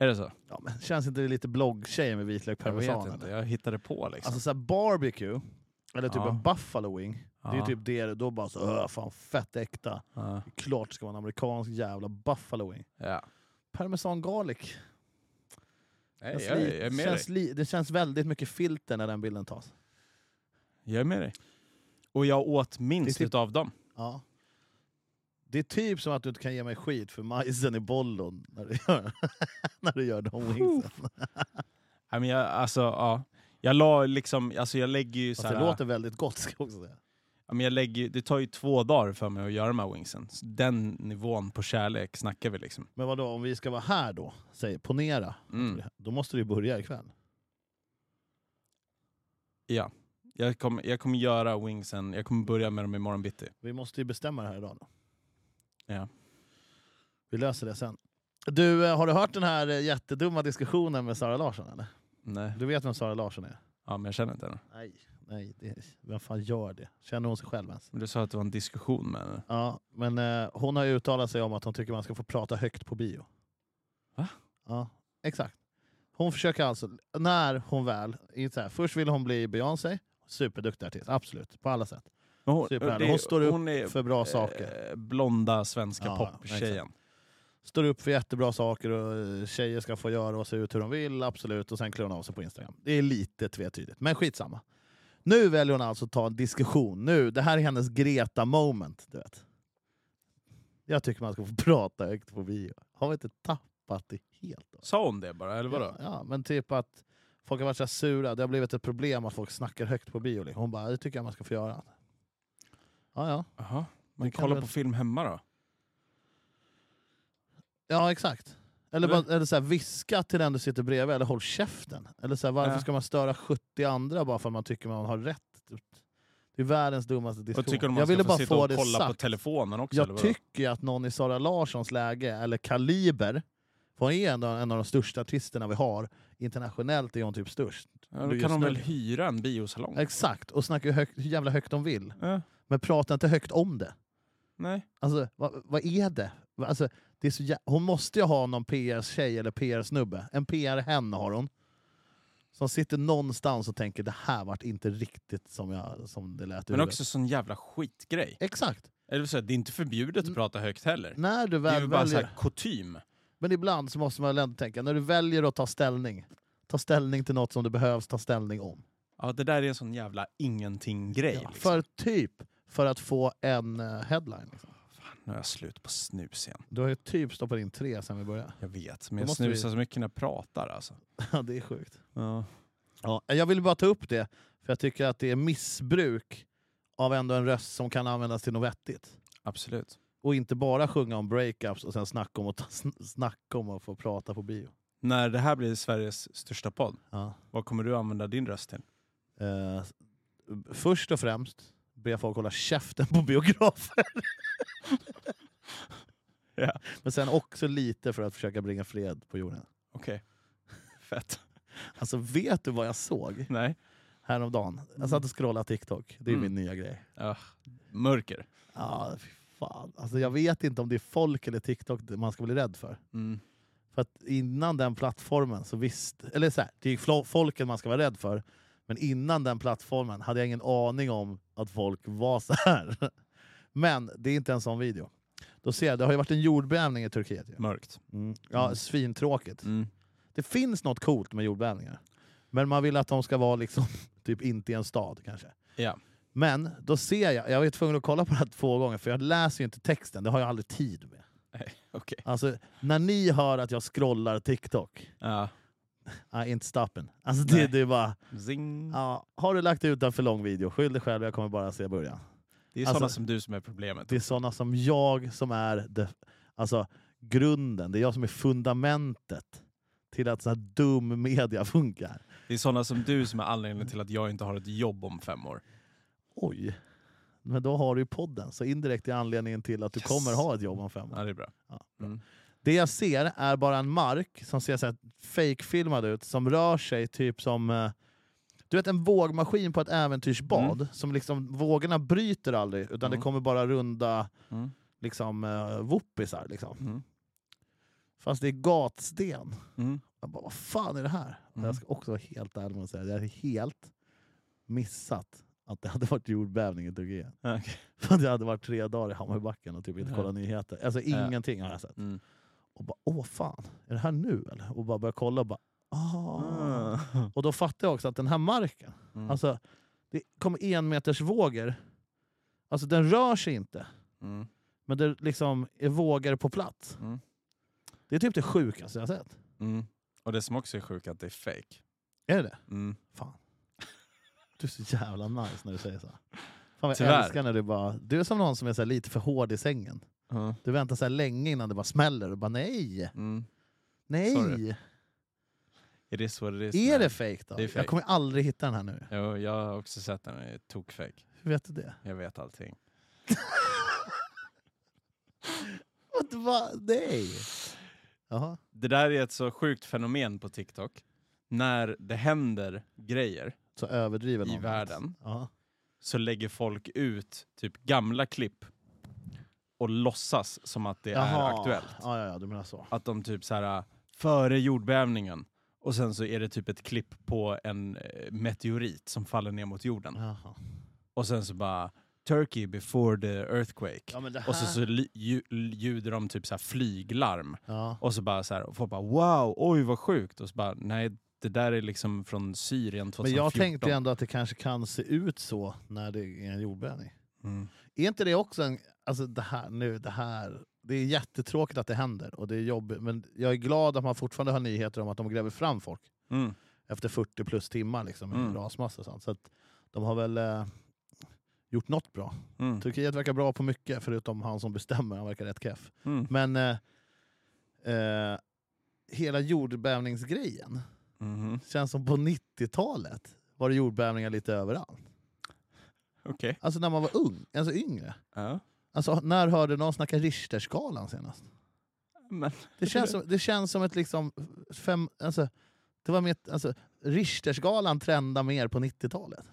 S1: Är det så?
S2: Ja, men känns inte det lite bloggtjejer med vitlök
S1: Jag
S2: parmesan?
S1: vet inte,
S2: eller?
S1: jag hittade på liksom.
S2: Alltså så här barbecue, eller typ
S1: Ja.
S2: en buffalo wing. Det är
S1: Ja,
S2: ju typ det, då bara så "Åh, fan fett äkta.
S1: ja,
S2: Klart ska vara en amerikansk jävla buffalo wing.
S1: ja.
S2: Parmesan garlic.
S1: Nej,
S2: Känns
S1: jag,
S2: li-
S1: jag är med dig.
S2: känns li- Alltså, det känns väldigt mycket filter när den bilden tas.
S1: Jag är med dig. Och jag åt minst
S2: Det är typ-
S1: utav dem.
S2: Ja. Det är typ som att du inte kan ge mig skit för majsen i bollen när du gör, när du gör de wingsen.
S1: Nej, men jag, alltså, ja. jag la liksom, alltså jag lägger ju så
S2: Fast det
S1: här,
S2: låter väldigt gott ska jag också säga.
S1: ja, men jag lägger, ju- det tar ju två dagar för mig att göra de här wingsen. Så den nivån på kärlek snackar vi liksom.
S2: Men vadå, om vi ska vara här då, säg, ponera,
S1: Mm.
S2: då måste du ju börja ikväll.
S1: Ja. Jag kommer jag kommer göra wingsen, jag kommer börja med dem imorgon bitti.
S2: Vi måste ju bestämma det här idag. Då.
S1: Ja.
S2: Vi löser det sen. Du, eh, har du hört den här eh, jättedumma diskussionen med Sara Larsson? Eller?
S1: Nej.
S2: Du vet vem Sara Larsson är?
S1: Ja, men jag känner inte henne.
S2: Nej. Nej det, vem fan gör det? Känner hon sig själv ens?
S1: Men Du sa att det var en diskussion med henne.
S2: Ja, men eh, hon har ju uttalat sig om att hon tycker man ska få prata högt på bio.
S1: Va?
S2: Ja, exakt. Hon försöker alltså, när hon väl... i Så här, först vill hon bli Beyoncé, superduktig artist, absolut, på alla sätt.
S1: Men Hon,
S2: Superhärlig. Typ Hon står upp
S1: hon är,
S2: För bra saker.
S1: eh, blonda svenska
S2: Ja,
S1: poptjejen.
S2: Står upp för jättebra saker och eh, tjejer ska få göra och se ut hur de vill, absolut. Och sen klär hon av sig på Instagram. Det är lite tvetydigt, men skitsamma. Nu väljer hon alltså att ta en diskussion. Nu, det här är hennes Greta-moment. du vet. Jag tycker man ska få prata högt på bio. Har vi inte tappat det helt? Då?
S1: Sa hon det bara, eller vadå?
S2: Ja, ja, men typ att folk har varit så här sura. Det har blivit ett problem att folk snackar högt på bio. liksom. Hon bara, det tycker jag man ska få göra. Ja, ja.
S1: Jaha. Men
S2: Det kan
S1: kolla
S2: väl-
S1: på film hemma då?
S2: Ja, exakt. Eller,
S1: Eller?
S2: bara, eller så här, viska till den du sitter bredvid, eller håll käften. Eller så här, varför
S1: Ja.
S2: ska man störa 70 andra bara för att man tycker man har rätt? Typ. Det är världens dummaste diskussion.
S1: Och tycker de man
S2: jag
S1: ska
S2: ville
S1: få
S2: bara
S1: sitta
S2: få
S1: och
S2: det
S1: kolla på
S2: sagt.
S1: telefonen också? eller
S2: jag
S1: vadå?
S2: tycker ju att någon i Sara Larssons läge, eller kaliber, för hon är ändå en av de största artisterna vi har. Internationellt är hon typ störst.
S1: Ja,
S2: du
S1: då
S2: är
S1: kan de väl
S2: snygg.
S1: hyra en biosalong?
S2: Exakt, och snackar ju högt, hur jävla högt de vill.
S1: Ja,
S2: Men prata inte högt om det.
S1: nej.
S2: Alltså, vad, vad är det? Va- Alltså, det är så jä- hon måste ju ha någon PR-tjej eller PR-snubbe. En PR-hen har hon. Som sitter någonstans och tänker det här vart inte riktigt som, jag, som det lät i
S1: Men
S2: huvudet."
S1: också sån jävla skitgrej.
S2: Exakt.
S1: Eller så här, det är inte förbjudet att prata högt heller.
S2: När du
S1: Det är ju
S2: Mm. väl
S1: bara så
S2: väljer,
S1: här kutym.
S2: men ibland så måste man väl ändå tänka, när du väljer att ta ställning, ta ställning till något som det behövs ta ställning om.
S1: Ja, det där är en sån jävla ingenting-grej.
S2: Ja,
S1: liksom.
S2: för typ, för att få en eh, headline. Liksom.
S1: Nu är jag slut på snus igen.
S2: Du har ju typ stoppat in tre sen vi började.
S1: Jag vet, men
S2: Då
S1: jag
S2: måste vi-
S1: snusar så mycket när jag pratar alltså.
S2: Ja, det är sjukt.
S1: Ja.
S2: Ja, jag ville bara ta upp det, för jag tycker att det är missbruk av ändå en röst som kan användas till något vettigt.
S1: Absolut.
S2: Och inte bara sjunga om breakups och sen snacka om att, ta, sn- snacka om att få prata på bio.
S1: När det här blir Sveriges största podd,
S2: Ja.
S1: vad kommer du använda din röst till?
S2: Eh, först och främst, be folk hålla käften på biografer.
S1: Ja.
S2: Men sen också lite för att försöka bringa fred på jorden.
S1: Okej. Fett.
S2: Alltså vet du vad jag såg
S1: Nej.
S2: häromdagen? Jag satt och scrollade TikTok, det är
S1: Mm.
S2: min nya grej.
S1: Ah, mörker.
S2: Ja, fy fan. Alltså, jag vet inte om det är folk eller TikTok man ska bli rädd för.
S1: Mm.
S2: För att innan den plattformen så visst... Eller så här, det är flo- folken man ska vara rädd för. Men innan den plattformen hade jag ingen aning om att folk var så här. Men det är inte en sån video. Då ser jag, det har ju varit en jordbävning i Turkiet. ju.
S1: Mörkt.
S2: Ja,
S1: Mm.
S2: svintråkigt.
S1: Mm.
S2: Det finns något coolt med jordbävningar. Men man vill att de ska vara liksom, typ inte i en stad kanske.
S1: Ja.
S2: Men då ser jag, jag var ju tvungen att kolla på det här två gånger för jag läser ju inte texten, det har jag aldrig tid med.
S1: Nej, okej.
S2: Alltså, när ni hör att jag scrollar TikTok,
S1: Ja.
S2: nej, inte stappen. Alltså det,
S1: Nej.
S2: det är bara,
S1: Zing.
S2: ja, har du lagt ut en för lång video, skyll dig själv, jag kommer bara se början.
S1: Det är
S2: Alltså-
S1: sådana som du som är problemet.
S2: Det är sådana som jag som är det, alltså, grunden, det är jag som är fundamentet till att sån här dum media funkar.
S1: Det är sådana som du som är anledningen till att jag inte har ett jobb om fem år.
S2: Oj, men då har du ju podden, så indirekt är anledningen till att du
S1: Yes.
S2: kommer ha ett jobb om fem år.
S1: Ja, det är bra.
S2: Ja, bra.
S1: Mm.
S2: Det jag ser är bara en mark som ser så här fake-filmad ut, som rör sig typ som eh, du vet en vågmaskin på ett äventyrsbad. Som liksom, vågorna bryter aldrig, utan det
S1: Mm.
S2: kommer bara runda
S1: Mm.
S2: liksom, uh, whoopisar. Liksom.
S1: Mm.
S2: Fast det är gatsten.
S1: Mm.
S2: Jag bara, vad fan är det här? Och
S1: Mm.
S2: Jag ska också vara helt ärlig med att säga, jag hade helt missat att det hade varit jordbävning i Turkiet.
S1: Ja, okej.
S2: För att jag hade varit tre dagar i Hammarbybacken och typ inte
S1: Ja.
S2: kollat nyheter. Alltså
S1: Ja.
S2: ingenting har jag sett.
S1: Mm.
S2: och bara åh fan, är det här nu eller? Och bara började kolla och bara ah. Och då fattade jag också att den här marken,
S1: Mm.
S2: alltså det kommer en meters vågor. Alltså den rör sig inte,
S1: Mm.
S2: men det liksom är vågor på plats.
S1: Mm.
S2: Det är typ det sjukaste jag har sett.
S1: Mm. Och det som också är sjukt är att det är fake.
S2: Är det det?
S1: Mm.
S2: Fan. Du är så jävla nice när du säger så. här. Fan vad jag
S1: Tyvärr.
S2: älskar när du bara, du är som någon som är så här lite för hård i sängen.
S1: Ja.
S2: Du väntar så här länge innan det bara smäller och bara nej,
S1: Mm.
S2: nej.
S1: Sorry. It is what it is.
S2: Är
S1: man.
S2: det fake då?
S1: Det är fake.
S2: Jag kommer aldrig hitta den här nu.
S1: Jo, jag har också sett den. Det är tokfake.
S2: Hur vet du det?
S1: Jag vet allting.
S2: Vad- vad- Nej! Jaha.
S1: Det där är ett så sjukt fenomen på TikTok. När det händer grejer
S2: Så överdriver
S1: i
S2: någon.
S1: världen
S2: Jaha.
S1: så lägger folk ut typ gamla klipp och låtsas som att det är
S2: Jaha.
S1: aktuellt.
S2: Ja, ja, ja, du menar så.
S1: Att de typ så här före jordbävningen och sen så är det typ ett klipp på en eh, meteorit som faller ner mot jorden.
S2: Jaha.
S1: Och sen så bara Turkey before the earthquake.
S2: Ja, men det här...
S1: Och så, så ly- lju- ljuder de typ så här flyglarm.
S2: Ja.
S1: Och så bara så här, och folk bara wow, oj vad sjukt. Och så bara nej, det där är liksom från Syrien 2014.
S2: Men jag tänkte ju ändå att det kanske kan se ut så när det är en jordbävning.
S1: Mm.
S2: Är inte det också en... Alltså det här, nu, det här... Det är jättetråkigt att det händer och det är jobbigt. Men jag är glad att man fortfarande har nyheter om att de gräver fram folk
S1: Mm.
S2: efter 40 plus timmar liksom, med
S1: Mm.
S2: rasmassa och sånt. Så att de har väl eh, gjort något bra.
S1: Mm.
S2: Turkiet verkar bra på mycket, förutom han som bestämmer. Han verkar rätt keff.
S1: Mm.
S2: Men eh, eh, hela jordbävningsgrejen
S1: Mhm.
S2: känns som på 90-talet var det jordbävningar lite överallt.
S1: Okej.
S2: Alltså när man var ung, alltså yngre.
S1: Ja.
S2: Alltså, när hörde någon snacka Richterskalan senast?
S1: Men,
S2: Det känns som, det känns som ett liksom... Fem, alltså, det var med, alltså, Richterskalan trendade mer på 90-talet.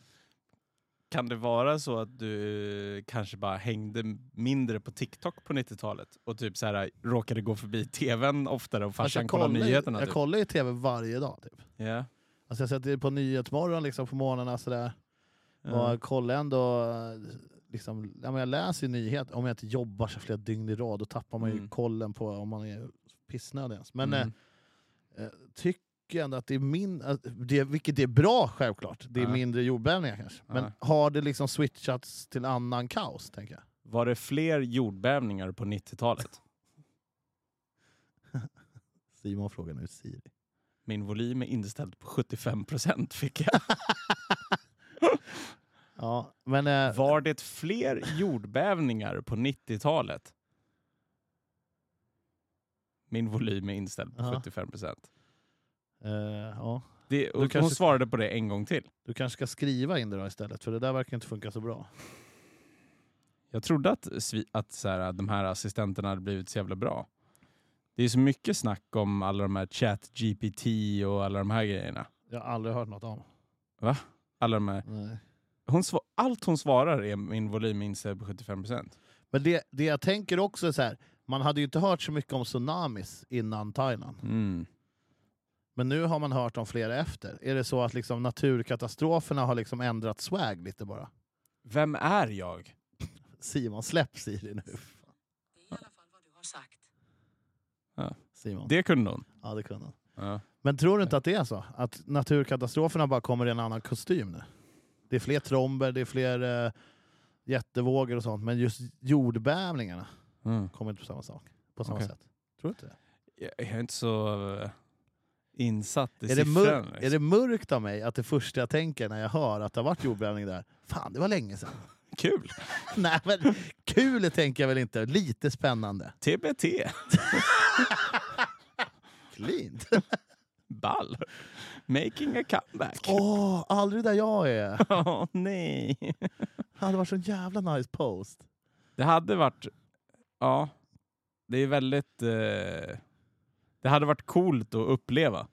S1: kan det vara så att du kanske bara hängde mindre på TikTok på 90-talet och typ så här råkade gå förbi tvn oftare och
S2: Alltså,
S1: farsan
S2: jag
S1: kollade
S2: kollar ju-
S1: nyheterna?
S2: Jag
S1: typ?
S2: kollar ju tv varje dag. Typ.
S1: Ja.
S2: Alltså, jag sätter det på Nyhetsmorgon liksom, på morgnarna. Sådär. Och
S1: Ja.
S2: jag kollar ändå... eh, Liksom, ja, men jag läser ju nyheter. Om jag inte jobbar så flera dygn i rad, då tappar man ju
S1: Mm.
S2: kollen på om man är pissnödig ens. Men
S1: Mm.
S2: eh, eh, tycker ändå att det är min... att Det, vilket det är bra självklart. Det är
S1: Ja.
S2: mindre jordbävningar kanske. Men
S1: Ja.
S2: har det liksom switchats till annan kaos, tänker jag?
S1: Var det fler jordbävningar på 90-talet?
S2: Simon frågar nu Siri.
S1: Min volym är inställd på 75% fick jag.
S2: Ja, men... Eh,
S1: Var det fler jordbävningar på 90-talet? Min volym är inställd på
S2: Ja.
S1: 75%.
S2: eh, ja.
S1: Det, och Hon
S2: kanske-
S1: svarade på det en gång till.
S2: Du kanske ska skriva in det då istället, för det där verkar inte funka så bra.
S1: Jag trodde att, svi- att så här, de här assistenterna hade blivit så jävla bra. Det är så mycket snack om alla de här chat-GPT och alla de här grejerna.
S2: Jag har aldrig hört något om.
S1: Alla de här,
S2: Nej.
S1: hon sva- allt hon svarar är min volym är inställd på 75%.
S2: Men det, det jag tänker också är så här, man hade ju inte hört så mycket om tsunamis innan Thailand.
S1: Mm.
S2: Men nu har man hört om flera efter. Är det så att liksom naturkatastroferna har liksom ändrat swag lite bara?
S1: Vem är jag?
S2: Simon, släpp Siri nu.
S3: Det är i alla fall vad du har sagt.
S2: Simon.
S1: Det kunde hon.
S2: Ja, det kunde han.
S1: Ja.
S2: Men tror du inte att det är så? Att naturkatastroferna bara kommer i en annan kostym nu? Det är fler tromber, det är fler eh, jättevågor och sånt. Men just jordbävningarna
S1: Mm.
S2: kommer inte på samma sak. På samma
S1: Okej.
S2: sätt. Tror du inte det?
S1: Jag jag är inte så eh, insatt i
S2: Är det,
S1: siffran.
S2: mör-
S1: liksom.
S2: är det mörkt av mig att det första jag tänker när jag hör att det har varit jordbävning där, fan det var länge sedan.
S1: Kul!
S2: Nej men kul tänker jag väl inte, lite spännande.
S1: TBT!
S2: Cleant.
S1: Ball! Making a comeback!
S2: Åh, aldrig där jag är.
S1: Åh, nej!
S2: Det hade varit så en jävla nice post.
S1: Det hade varit... Ja. Det är väldigt... Eh, det hade varit coolt att uppleva.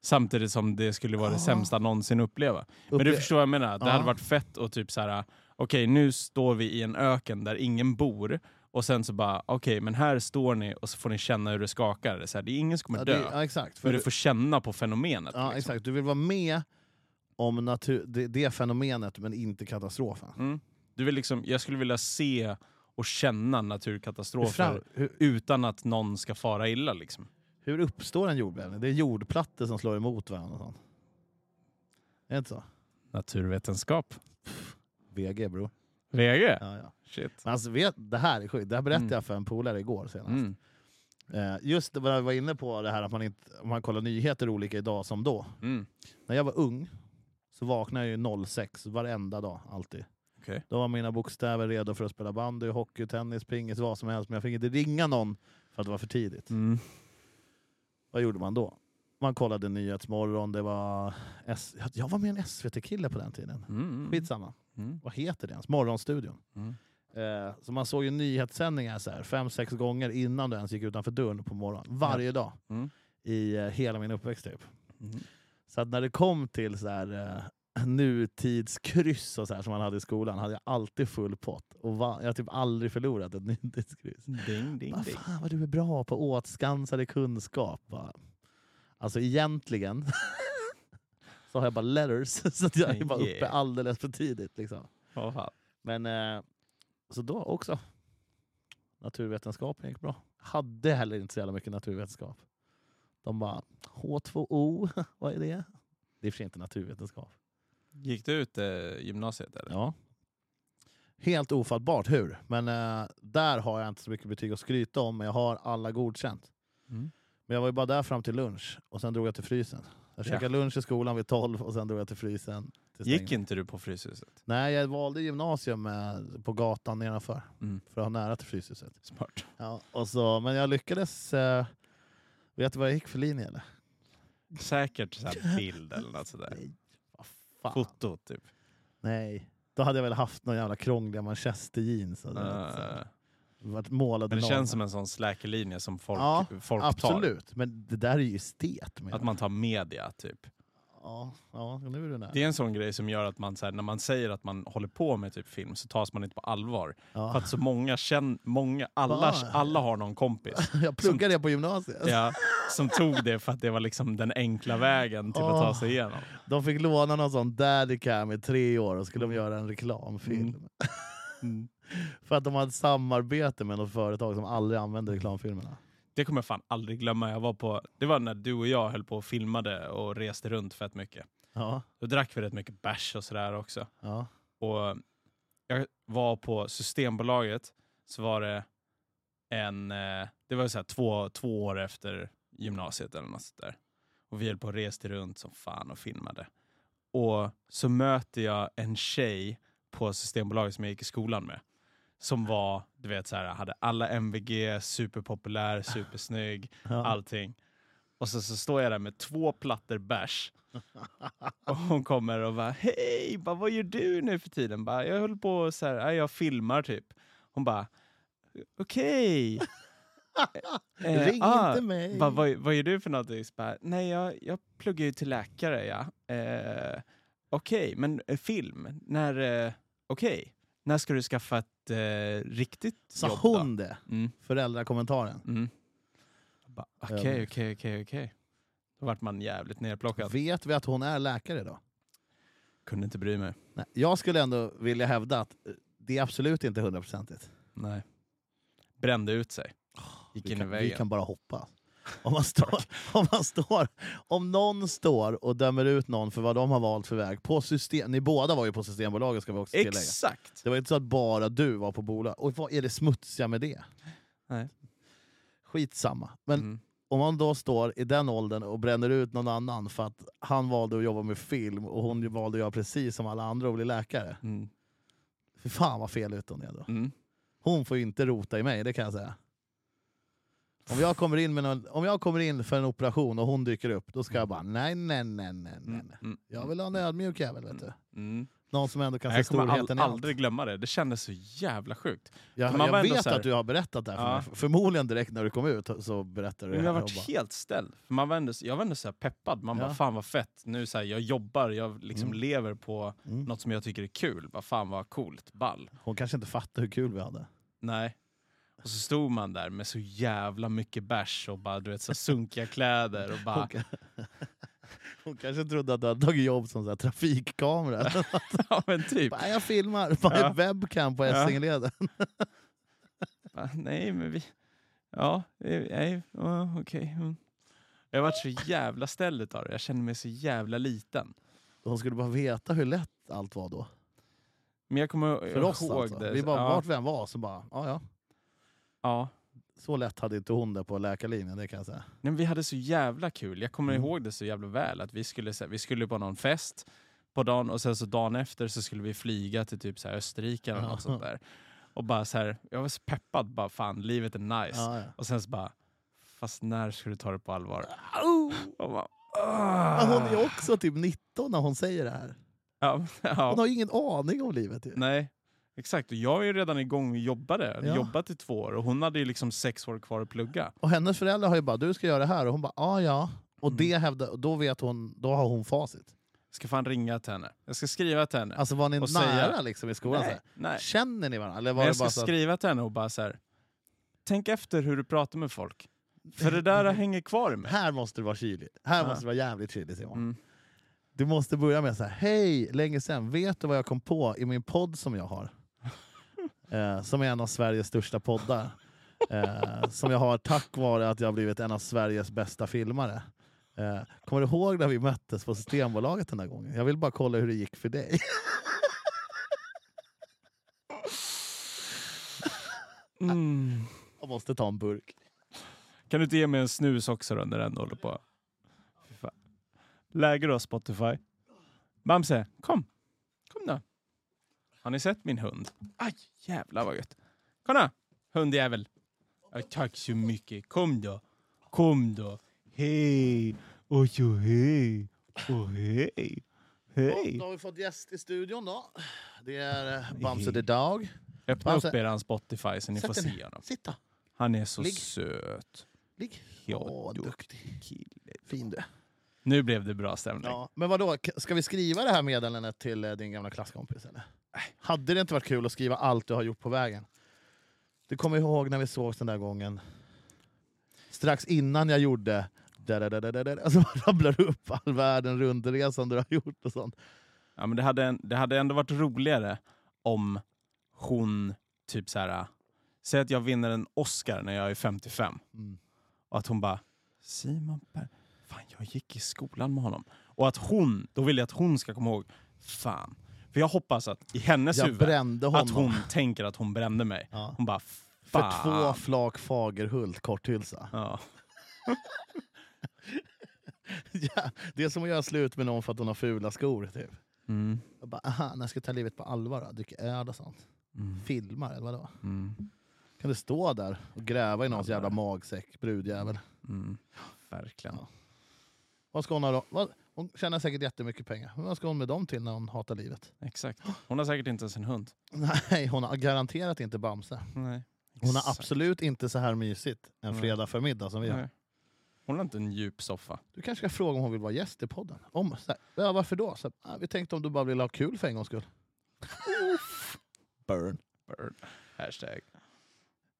S1: Samtidigt som det skulle vara det
S2: Ja.
S1: sämsta någonsin att uppleva. Men
S2: Upple-
S1: du förstår vad jag menar? Det
S2: Ja.
S1: hade varit fett och typ så här. okej nu står vi i en öken där ingen bor och sen så bara, okej men här står ni och så får ni känna hur det skakar. Det är, så här, det är ingen som kommer
S2: ja,
S1: dö.
S2: det, ja, exakt. För
S1: men du
S2: du,
S1: får känna på fenomenet.
S2: ja,
S1: liksom.
S2: exakt. Du vill vara med om natur- det, det fenomenet, men inte katastrofen.
S1: mm. du vill liksom, jag skulle vilja se och känna
S2: Hur,
S1: naturkatastrofer
S2: fram, hur,
S1: utan att någon ska fara illa. Liksom.
S2: hur uppstår en jordbävning? Det är jordplattor som slår emot varandra. Och sånt. Är det inte så?
S1: Naturvetenskap.
S2: VG bror.
S1: VG?
S2: Ja, ja.
S1: Shit.
S2: Men alltså, vet, det här är sjukt. Det här berättade
S1: Mm.
S2: jag för en polare igår senast.
S1: Mm.
S2: Eh, just det vad jag var inne på, det här att man, inte, om man kollar nyheter olika idag som då.
S1: Mm.
S2: När jag var ung så vaknade jag ju 06 varenda dag, alltid.
S1: Okej.
S2: Då var mina bokstäver redo för att spela bandy, hockey, tennis, pingis, vad som helst. Men jag fick inte ringa någon för att det var för tidigt.
S1: Mm.
S2: Vad gjorde man då? Man kollade Nyhetsmorgon, det var... S- jag var med en SVT-kille på den tiden.
S1: Mm.
S2: Skitsamma.
S1: Mm.
S2: Vad heter det ens? Morgonstudion.
S1: Mm.
S2: Eh, så man såg ju nyhetssändningar så här, fem, sex gånger innan du ens gick utanför dörren på morgonen. Varje dag.
S1: Mm.
S2: I eh, hela min uppväxt typ.
S1: Mm.
S2: Så att när det kom till så här, eh, nutidskryss och så här, som man hade i skolan hade jag alltid full pott. Och va- jag har typ aldrig förlorat ett nutidskryss.
S1: Ding, ding,
S2: Vad
S1: ding.
S2: fan vad du är bra på åtskansade kunskap. Bara. Alltså egentligen så har jag bara letters så att jag är bara uppe
S1: Yeah.
S2: alldeles för tidigt. Liksom.
S1: Vad fan.
S2: Men eh, så då också. Naturvetenskapen gick bra. Hade heller inte så jävla mycket naturvetenskap. De bara H2O, vad är det? Det är i och för sig inte naturvetenskap.
S1: Gick du ut eh, gymnasiet? Eller?
S2: Ja. Helt ofattbart hur, men eh, där har jag inte så mycket betyg att skryta om, men jag har alla godkänt.
S1: Mm.
S2: Men jag var ju bara där fram till lunch och sen drog jag till frysen. Jag
S1: Ja.
S2: käkade lunch i skolan vid 12 och sen drog jag till frysen. till
S1: Gick
S2: stängning.
S1: inte du på Fryshuset?
S2: Nej, jag valde gymnasium eh, på gatan nedanför
S1: Mm.
S2: för att ha nära till Fryshuset.
S1: Smart.
S2: Ja, och så, men jag lyckades... Eh, vet du vad jag gick för linje eller?
S1: Säkert så här bild eller något sådär.
S2: Vad fan?
S1: Foto typ.
S2: Nej. Då hade jag väl haft någon jävla krångliga manchesterjeans. och du vet, så här.
S1: Eh,
S2: Alltså, Varit målad
S1: men det
S2: någon-
S1: känns som en sån släkelinje som folk,
S2: Ja,
S1: folk tar.
S2: Absolut, men det där är ju estet. menar
S1: Att man tar media typ.
S2: jag. ja, ja, nu är du nära.
S1: Det är en sån grej som gör att man, så här, när man säger att man håller på med typ film så tas man inte på allvar. För
S2: Ja.
S1: att så många känner, många, alla,
S2: Ah.
S1: alla har någon kompis
S2: Jag pluggade det på gymnasiet.
S1: ja, som tog det för att det var liksom den enkla vägen till att ta sig igenom.
S2: De fick låna någon sån daddycam i tre år och skulle de göra en reklamfilm.
S1: Mm.
S2: För att de hade ett samarbete med något företag som aldrig använde reklamfilmerna.
S1: Det kommer jag fan aldrig glömma. Jag var på, det var när du och jag höll på och filmade och reste runt fett mycket.
S2: Ja,
S1: Då drack vi rätt mycket bärs och sådär också.
S2: ja.
S1: Och jag var på Systembolaget, så var det en... eh, Det var så här två, två år efter gymnasiet eller något sånt där. Och vi höll på och reste runt som fan och filmade. Och så möter jag en tjej på Systembolaget som jag gick i skolan med. Som var, du vet så här, hade alla MVG, superpopulär, supersnygg,
S2: ja.
S1: allting. Och så, så står jag där med två plattor bärs. Och hon kommer och bara hej, bara, vad gör du nu för tiden? Bara, jag höll på och så här, "Ja, jag filmar typ. Hon bara okej. Eh,
S2: Ring
S1: ah."
S2: inte mig!
S1: Bara, vad, vad gör du för någonting? Så Bara, Nej, jag, jag pluggar ju till läkare. Ja. Eh, Okej, men eh, film, när, eh, okej. när ska du skaffa ett eh, riktigt
S2: Sa
S1: jobb
S2: hon det?
S1: då? Mm.
S2: Föräldrakommentaren.
S1: Mm. Jag bara, Okej,
S2: Överdrift.
S1: okej, okej, okej. Då vart man jävligt nerplockad.
S2: Vet vi att hon är läkare då?
S1: Kunde inte bry mig.
S2: Nej. Jag skulle ändå vilja hävda att eh, det är absolut inte hundraprocentigt.
S1: Nej. Brände ut sig. Gick
S2: Vi
S1: in i
S2: kan, Ah, vi
S1: väggen.
S2: kan bara hoppas. Om, man står, om, man står, om någon står och dömer ut någon för vad de har valt för väg på system... Ni båda var ju på Systembolaget ska vi också tillägga.
S1: Exakt!
S2: Det var inte så att bara du var på bolag. Och vad är det smutsiga med det?
S1: Nej.
S2: Skitsamma. Men
S1: Mm.
S2: om man då står i den åldern och bränner ut någon annan för att han valde att jobba med film och hon ju valde att göra precis som alla andra och bli läkare.
S1: Mm.
S2: Fy fan vad fel ut hon är då.
S1: Mm.
S2: Hon får ju inte rota i mig, det kan jag säga. Om jag kommer in, med någon, om jag kommer in för en operation och hon dyker upp, då ska jag bara nej, nej, nej, nej, nej. nej.
S1: Mm.
S2: Jag vill ha en ödmjuk jävel, vet du.
S1: Mm.
S2: Någon som ändå kan se
S1: Jag kommer
S2: storheten
S1: all,
S2: i allt.
S1: aldrig glömma det. Det kändes så jävla sjukt.
S2: Jag,
S1: Man var
S2: jag
S1: ändå
S2: vet
S1: så här-
S2: att du har berättat det här för
S1: Ja.
S2: mig. F- Förmodligen direkt när du kom ut så berättade du
S1: Men
S2: det
S1: jag
S2: här.
S1: varit
S2: Jag bara,
S1: helt ställd. För man var ändå, jag var ändå så här peppad. Man
S2: Ja.
S1: bara, fan vad fett. Nu så här, jag jobbar, jag liksom
S2: Mm.
S1: lever på
S2: Mm.
S1: något som jag tycker är kul. Bara, fan vad coolt, ball.
S2: Hon kanske inte fattar hur kul vi hade.
S1: Nej. Och så stod man där med så jävla mycket bärs och bara, du vet, så här, sunkiga kläder och
S2: Hon,
S1: bara...
S2: ka- hon kanske trodde att du hade tagit jobb som så här trafikkamera.
S1: ja, men typ.
S2: bara, jag filmar, bara
S1: Ja.
S2: en webcam på
S1: Ja.
S2: Essingeleden.
S1: Bara, nej, men vi... Ja, eh, nej, ja, okej. mm. Jag varit så jävla ställd utav det. Jag kände mig så jävla liten.
S2: Hon skulle bara veta hur lätt allt var då.
S1: Men jag kommer
S2: För
S1: ihåg
S2: oss alltså.
S1: det.
S2: Vi bara,
S1: ja,
S2: vart vi än var, så bara, ja ja.
S1: ja.
S2: Så lätt hade inte hon det på läkarlinjen, det kan jag säga.
S1: Nej, men vi hade så jävla kul. Jag kommer
S2: Mm.
S1: ihåg det så jävla väl. Att vi, skulle, så här, vi skulle på någon fest på dagen och sen så dagen efter så skulle vi flyga till typ så här Österrike eller
S2: Ja.
S1: något sånt där. Och bara så här, jag var så peppad. Bara fan, livet är nice.
S2: Ja, ja.
S1: Och sen så bara, fast när ska du ta det på allvar? Au! Och bara, ah.
S2: Men Hon är ju också typ 19 när hon säger det här.
S1: ja, ja.
S2: Hon har ju ingen aning om livet. Ju.
S1: Nej, exakt. Och jag är ju redan igång och jobbade. hade
S2: Ja.
S1: Jobbat i två år och hon hade ju liksom sex år kvar att plugga.
S2: Och hennes föräldrar har ju bara, du ska göra det här. Och hon bara, ja ja. Och
S1: Mm.
S2: det hävdar, och då vet hon, då har hon facit.
S1: Jag ska fan ringa till henne. Jag ska skriva till henne.
S2: Alltså var ni
S1: Och säga-
S2: nära liksom i skolan? Så
S1: nej,
S2: här?
S1: nej.
S2: Känner ni varandra? Eller var
S1: Men jag
S2: det
S1: ska
S2: bara så att,
S1: skriva till henne och bara så här. Tänk efter hur du pratar med folk. För det där hänger kvar i mig.
S2: här måste det vara kyligt. Här
S1: Ja.
S2: måste det vara jävligt kyligt Simon.
S1: Mm.
S2: Du måste börja med så här, hej, länge sen. Vet du vad jag kom på i min podd som jag har? eh, som är en av Sveriges största poddar. Eh, som jag har tack vare att jag har blivit en av Sveriges bästa filmare. Eh, kommer du ihåg när vi möttes på Systembolaget den där gången? Jag vill bara kolla hur det gick för dig.
S1: Mm.
S2: jag måste ta en burk.
S1: Kan du inte ge mig en snus också då när den håller på? Fy fan. Läge då Spotify. Bamse, kom. Kom då. Har ni sett min hund? Aj, jävlar vad gött. Kom då, hundjävel. Aj, tack så mycket. Kom då. Kom då. Hej. Oj, oj, hej. Oj, hej.
S2: Då
S1: Hej.
S2: har vi fått gäst i studion då. Det är eh, Bamse
S1: Hej.
S2: the Dog.
S1: Öppna
S2: Bamse.
S1: upp er hans Spotify så ni får
S2: Alltså, Sätt den
S1: se
S2: här.
S1: honom.
S2: Sitta,
S1: Han är så
S2: Ligg.
S1: söt.
S2: ligg.
S1: Ja,
S2: Åh,
S1: du.
S2: duktig.
S1: Kille.
S2: Fin du.
S1: Nu blev det bra stämning.
S2: Ja, men vadå, k- ska vi skriva det här meddelandet till eh, din gamla klasskompis eller? Hade det inte varit kul att skriva allt du har gjort på vägen? Du kommer ihåg när vi sågs den där gången? Strax innan jag gjorde... Där, där, där, där, där, där. Alltså man rabblar du upp all världen runt-resan du har gjort och sånt.
S1: Ja, men det, hade, en- det hade ändå varit roligare om hon typ så här. äh, Säg att jag vinner en Oscar när jag är 55.
S2: Mm.
S1: Och att hon bara, Simon Per, fan jag gick i skolan med honom. Och att hon, då vill jag att hon ska komma ihåg, fan. För jag hoppas att i hennes
S2: Jag
S1: huvud,
S2: brände honom.
S1: Alltså, att hon tänker att hon brände mig.
S2: Ja.
S1: Hon bara,
S2: För
S1: fan.
S2: två flak Fagerhult korthylsa.
S1: ja.
S2: ja, det är som att göra slut med någon för att hon har fula skor. Typ.
S1: mm,
S2: Jag bara, aha, när ska jag ta livet på allvar då? Dricka öl och sånt.
S1: mm,
S2: Filmar eller vadå?
S1: mm,
S2: Kan du stå där och gräva i någons
S1: Ja,
S2: jävla
S1: där.
S2: magsäck, brudjävel?
S1: mm. Verkligen.
S2: Ja. Vad ska hon ha då? Vad? Hon tjänar säkert jättemycket pengar. Men vad ska hon med dem till när hon hatar livet?
S1: Exakt. Hon har säkert inte ens en hund.
S2: Nej, hon har garanterat inte Bamse.
S1: Nej.
S2: Hon har
S1: Exakt.
S2: absolut inte så här mysigt en
S1: Nej.
S2: fredag förmiddag som vi har.
S1: Nej. Hon har inte en djup soffa.
S2: Du kanske ska fråga om hon vill vara gäst i podden? Om, så här, ja, varför då? Så, här, "Ah, vi tänkte om du bara vill ha kul för en gångs skull. Burn.
S1: Burn. Hashtag.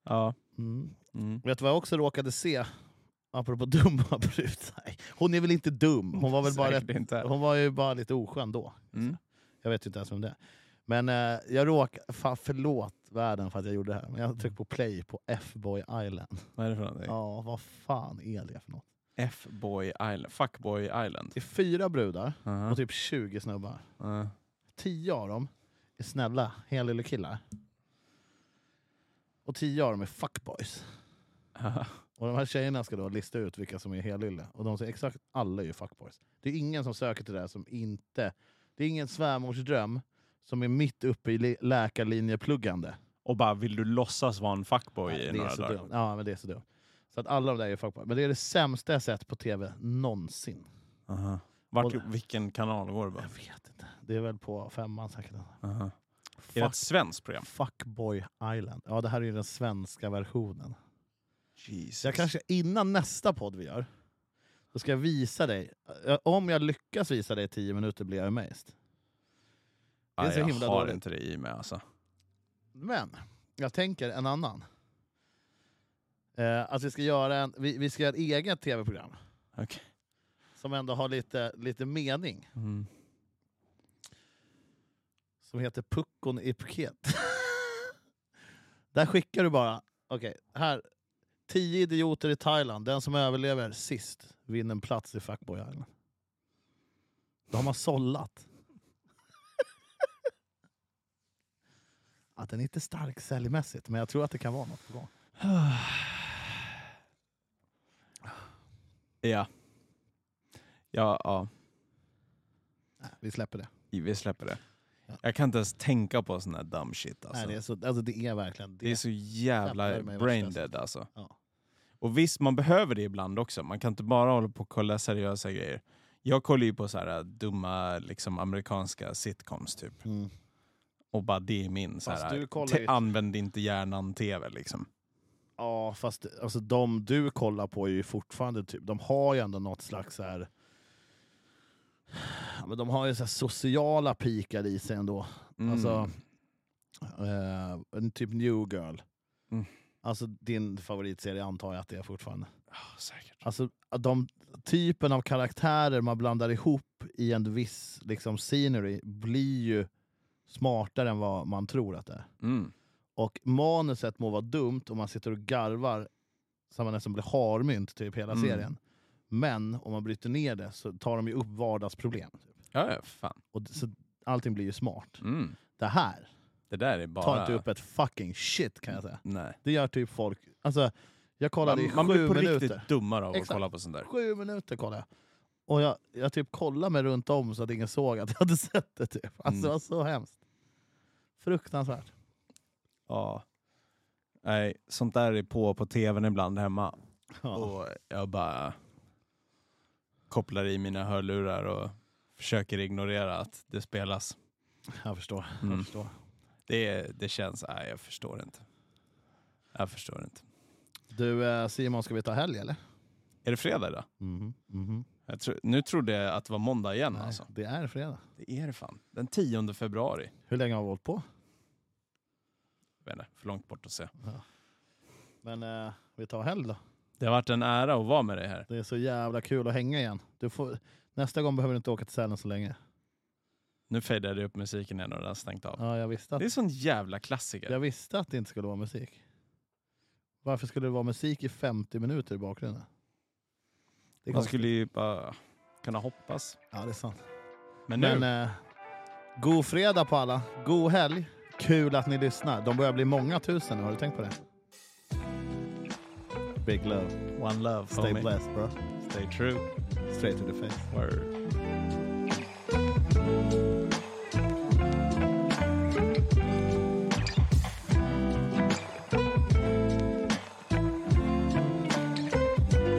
S1: Ja.
S2: Mm.
S1: Mm.
S2: Vet du vad jag också råkade se? Apropå dumma brud. Nej, hon är väl inte dum? Hon var väl bara,
S1: Säkert
S2: rätt,
S1: inte.
S2: hon var ju bara lite oskön då.
S1: Mm.
S2: Jag vet ju inte ens vem det är. Men eh, jag råkade... Fan förlåt världen för att jag gjorde det här. Men jag tryckte på play på F-boy island.
S1: Vad är det för någonting?
S2: Ja, vad fan är det för något?
S1: F-boy island. Fuckboy island.
S2: Det är fyra brudar
S1: Aha,
S2: och typ 20 snubbar.
S1: ja.
S2: Tio av dem är snälla, hela killar. Och tio av dem är fuckboys.
S1: Aha.
S2: Och de här tjejerna ska då lista ut vilka som är helylle. Och de säger exakt alla är ju fuckboys. Det är ingen som söker till det här som inte... Det är ingen svärmorsdröm som är mitt uppe i li- läkarlinjepluggande.
S1: Och bara, vill du låtsas vara en fuckboy
S2: Nej,
S1: i
S2: det är
S1: några
S2: så
S1: dagar?
S2: dumt. Ja, men det är så dumt. Så att alla de där är fuckboys. Men det är det sämsta jag sett på tv någonsin.
S1: Aha. Vart,
S2: Och-
S1: vilken kanal går det på?
S2: Jag vet inte. Det är väl på femman säkert.
S1: Aha. Är det
S2: Fuck,
S1: ett svenskt program?
S2: fuckboy Island. Ja, det här är ju den svenska versionen.
S1: Jesus.
S2: Så jag kanske innan nästa podd vi gör, så ska jag visa dig. Ö, Om jag lyckas visa dig i tio minuter blir jag amazed. är
S1: Nej,
S2: så
S1: jag
S2: himla
S1: har
S2: dåligt.
S1: inte det i mig alltså.
S2: Men jag tänker en annan. Eh, att vi ska göra en, vi, vi ska göra ett eget tv-program
S1: Okej.
S2: som ändå har lite, lite mening.
S1: Mm.
S2: Som heter Puckon i paket. Där skickar du bara, okej, här. Tio idioter i Thailand. Den som överlever sist vinner en plats i Fuckboy Island. Då har man sållat. att den är inte stark säljmässigt, men jag tror att det kan vara något på gång.
S1: Ja. Ja, ja.
S2: Nej, vi släpper det.
S1: Vi släpper det.
S2: Ja.
S1: Jag kan inte ens tänka på sån här dumb shit alltså.
S2: Nej, det, är så, alltså, det är verkligen det.
S1: Det är så jävla
S2: Jävlar mig vad
S1: brain
S2: stressigt.
S1: dead alltså.
S2: Ja.
S1: Och visst, man behöver det ibland också. Man kan inte bara hålla på och kolla seriösa grejer. Jag kollar ju på så här äh, dumma liksom, amerikanska sitcoms typ.
S2: Mm.
S1: Och bara det är min så
S2: Fast
S1: här, äh,
S2: du kollar
S1: te-
S2: ju-
S1: använd inte hjärnan-tv liksom.
S2: Ja, fast alltså, de du kollar på är ju fortfarande typ, de har ju ändå något slags så här, Ja, men de har ju så här sociala pikar i sig ändå.
S1: Mm.
S2: Alltså, eh, en typ New Girl.
S1: Mm.
S2: Alltså din favoritserie antar jag att det är fortfarande.
S1: Ja, säkert.
S2: Alltså de typen av karaktärer man blandar ihop i en viss liksom scenery blir ju smartare än vad man tror att det är.
S1: Mm.
S2: Och manuset må vara dumt och man sitter och garvar så man nästan blir harmynt typ hela
S1: Mm.
S2: serien. Men om man bryter ner det så tar de ju upp vardagsproblem. Typ.
S1: Ja, ja, fan.
S2: Och d- så allting blir ju smart.
S1: Mm.
S2: Det här
S1: Det där är bara...
S2: tar inte upp ett fucking shit kan jag säga.
S1: Nej.
S2: Det gör typ folk... Alltså, jag kollade
S1: Man,
S2: i
S1: man
S2: sju
S1: blir på
S2: minuter.
S1: riktigt dummare av att
S2: Exakt.
S1: kolla på sånt där.
S2: Sju minuter kollade jag. Och jag, jag typ kollade mig runt om så att ingen såg att jag hade sett det. Typ. Alltså,
S1: Mm.
S2: Det var så hemskt. Fruktansvärt.
S1: Ja. Nej, sånt där är på på tvn ibland hemma.
S2: Ja.
S1: Och jag bara kopplar i mina hörlurar och försöker ignorera att det spelas.
S2: Jag förstår.
S1: Mm.
S2: Jag förstår.
S1: Det, det känns, nej jag förstår inte. Jag förstår inte.
S2: Du eh, Simon, ska vi ta helg eller?
S1: Är det fredag idag?
S2: Mhm, mhm.
S1: Jag tro, nu trodde jag att det var måndag igen
S2: Nej,
S1: alltså.
S2: Det är fredag.
S1: Det är det fan. Den 10 februari.
S2: Hur länge har vi hållit på?
S1: Jag vet inte, för långt bort att se.
S2: Men eh, vi tar helg då.
S1: Det har varit en ära att vara med dig här.
S2: Det är så jävla kul att hänga igen. Du får, nästa gång behöver du inte åka till Sälen så länge.
S1: Nu fejdade jag upp musiken igen och den har stängt av.
S2: Ja, jag, visste att,
S1: Det är sån jävla klassiker.
S2: jag visste att det inte skulle vara musik. Varför skulle det vara musik i 50 minuter i bakgrunden? Det är
S1: Man
S2: konstigt.
S1: skulle ju bara kunna hoppas.
S2: Ja, det är sant.
S1: Men nu,
S2: Men eh, god fredag på alla. God helg. Kul att ni lyssnar. De börjar bli många tusen nu. Har du tänkt på det? Big eh, love.
S1: one love,
S2: Stay
S1: homie.
S2: blessed bro.
S1: Stay true.
S2: Straight to the face.
S1: Word.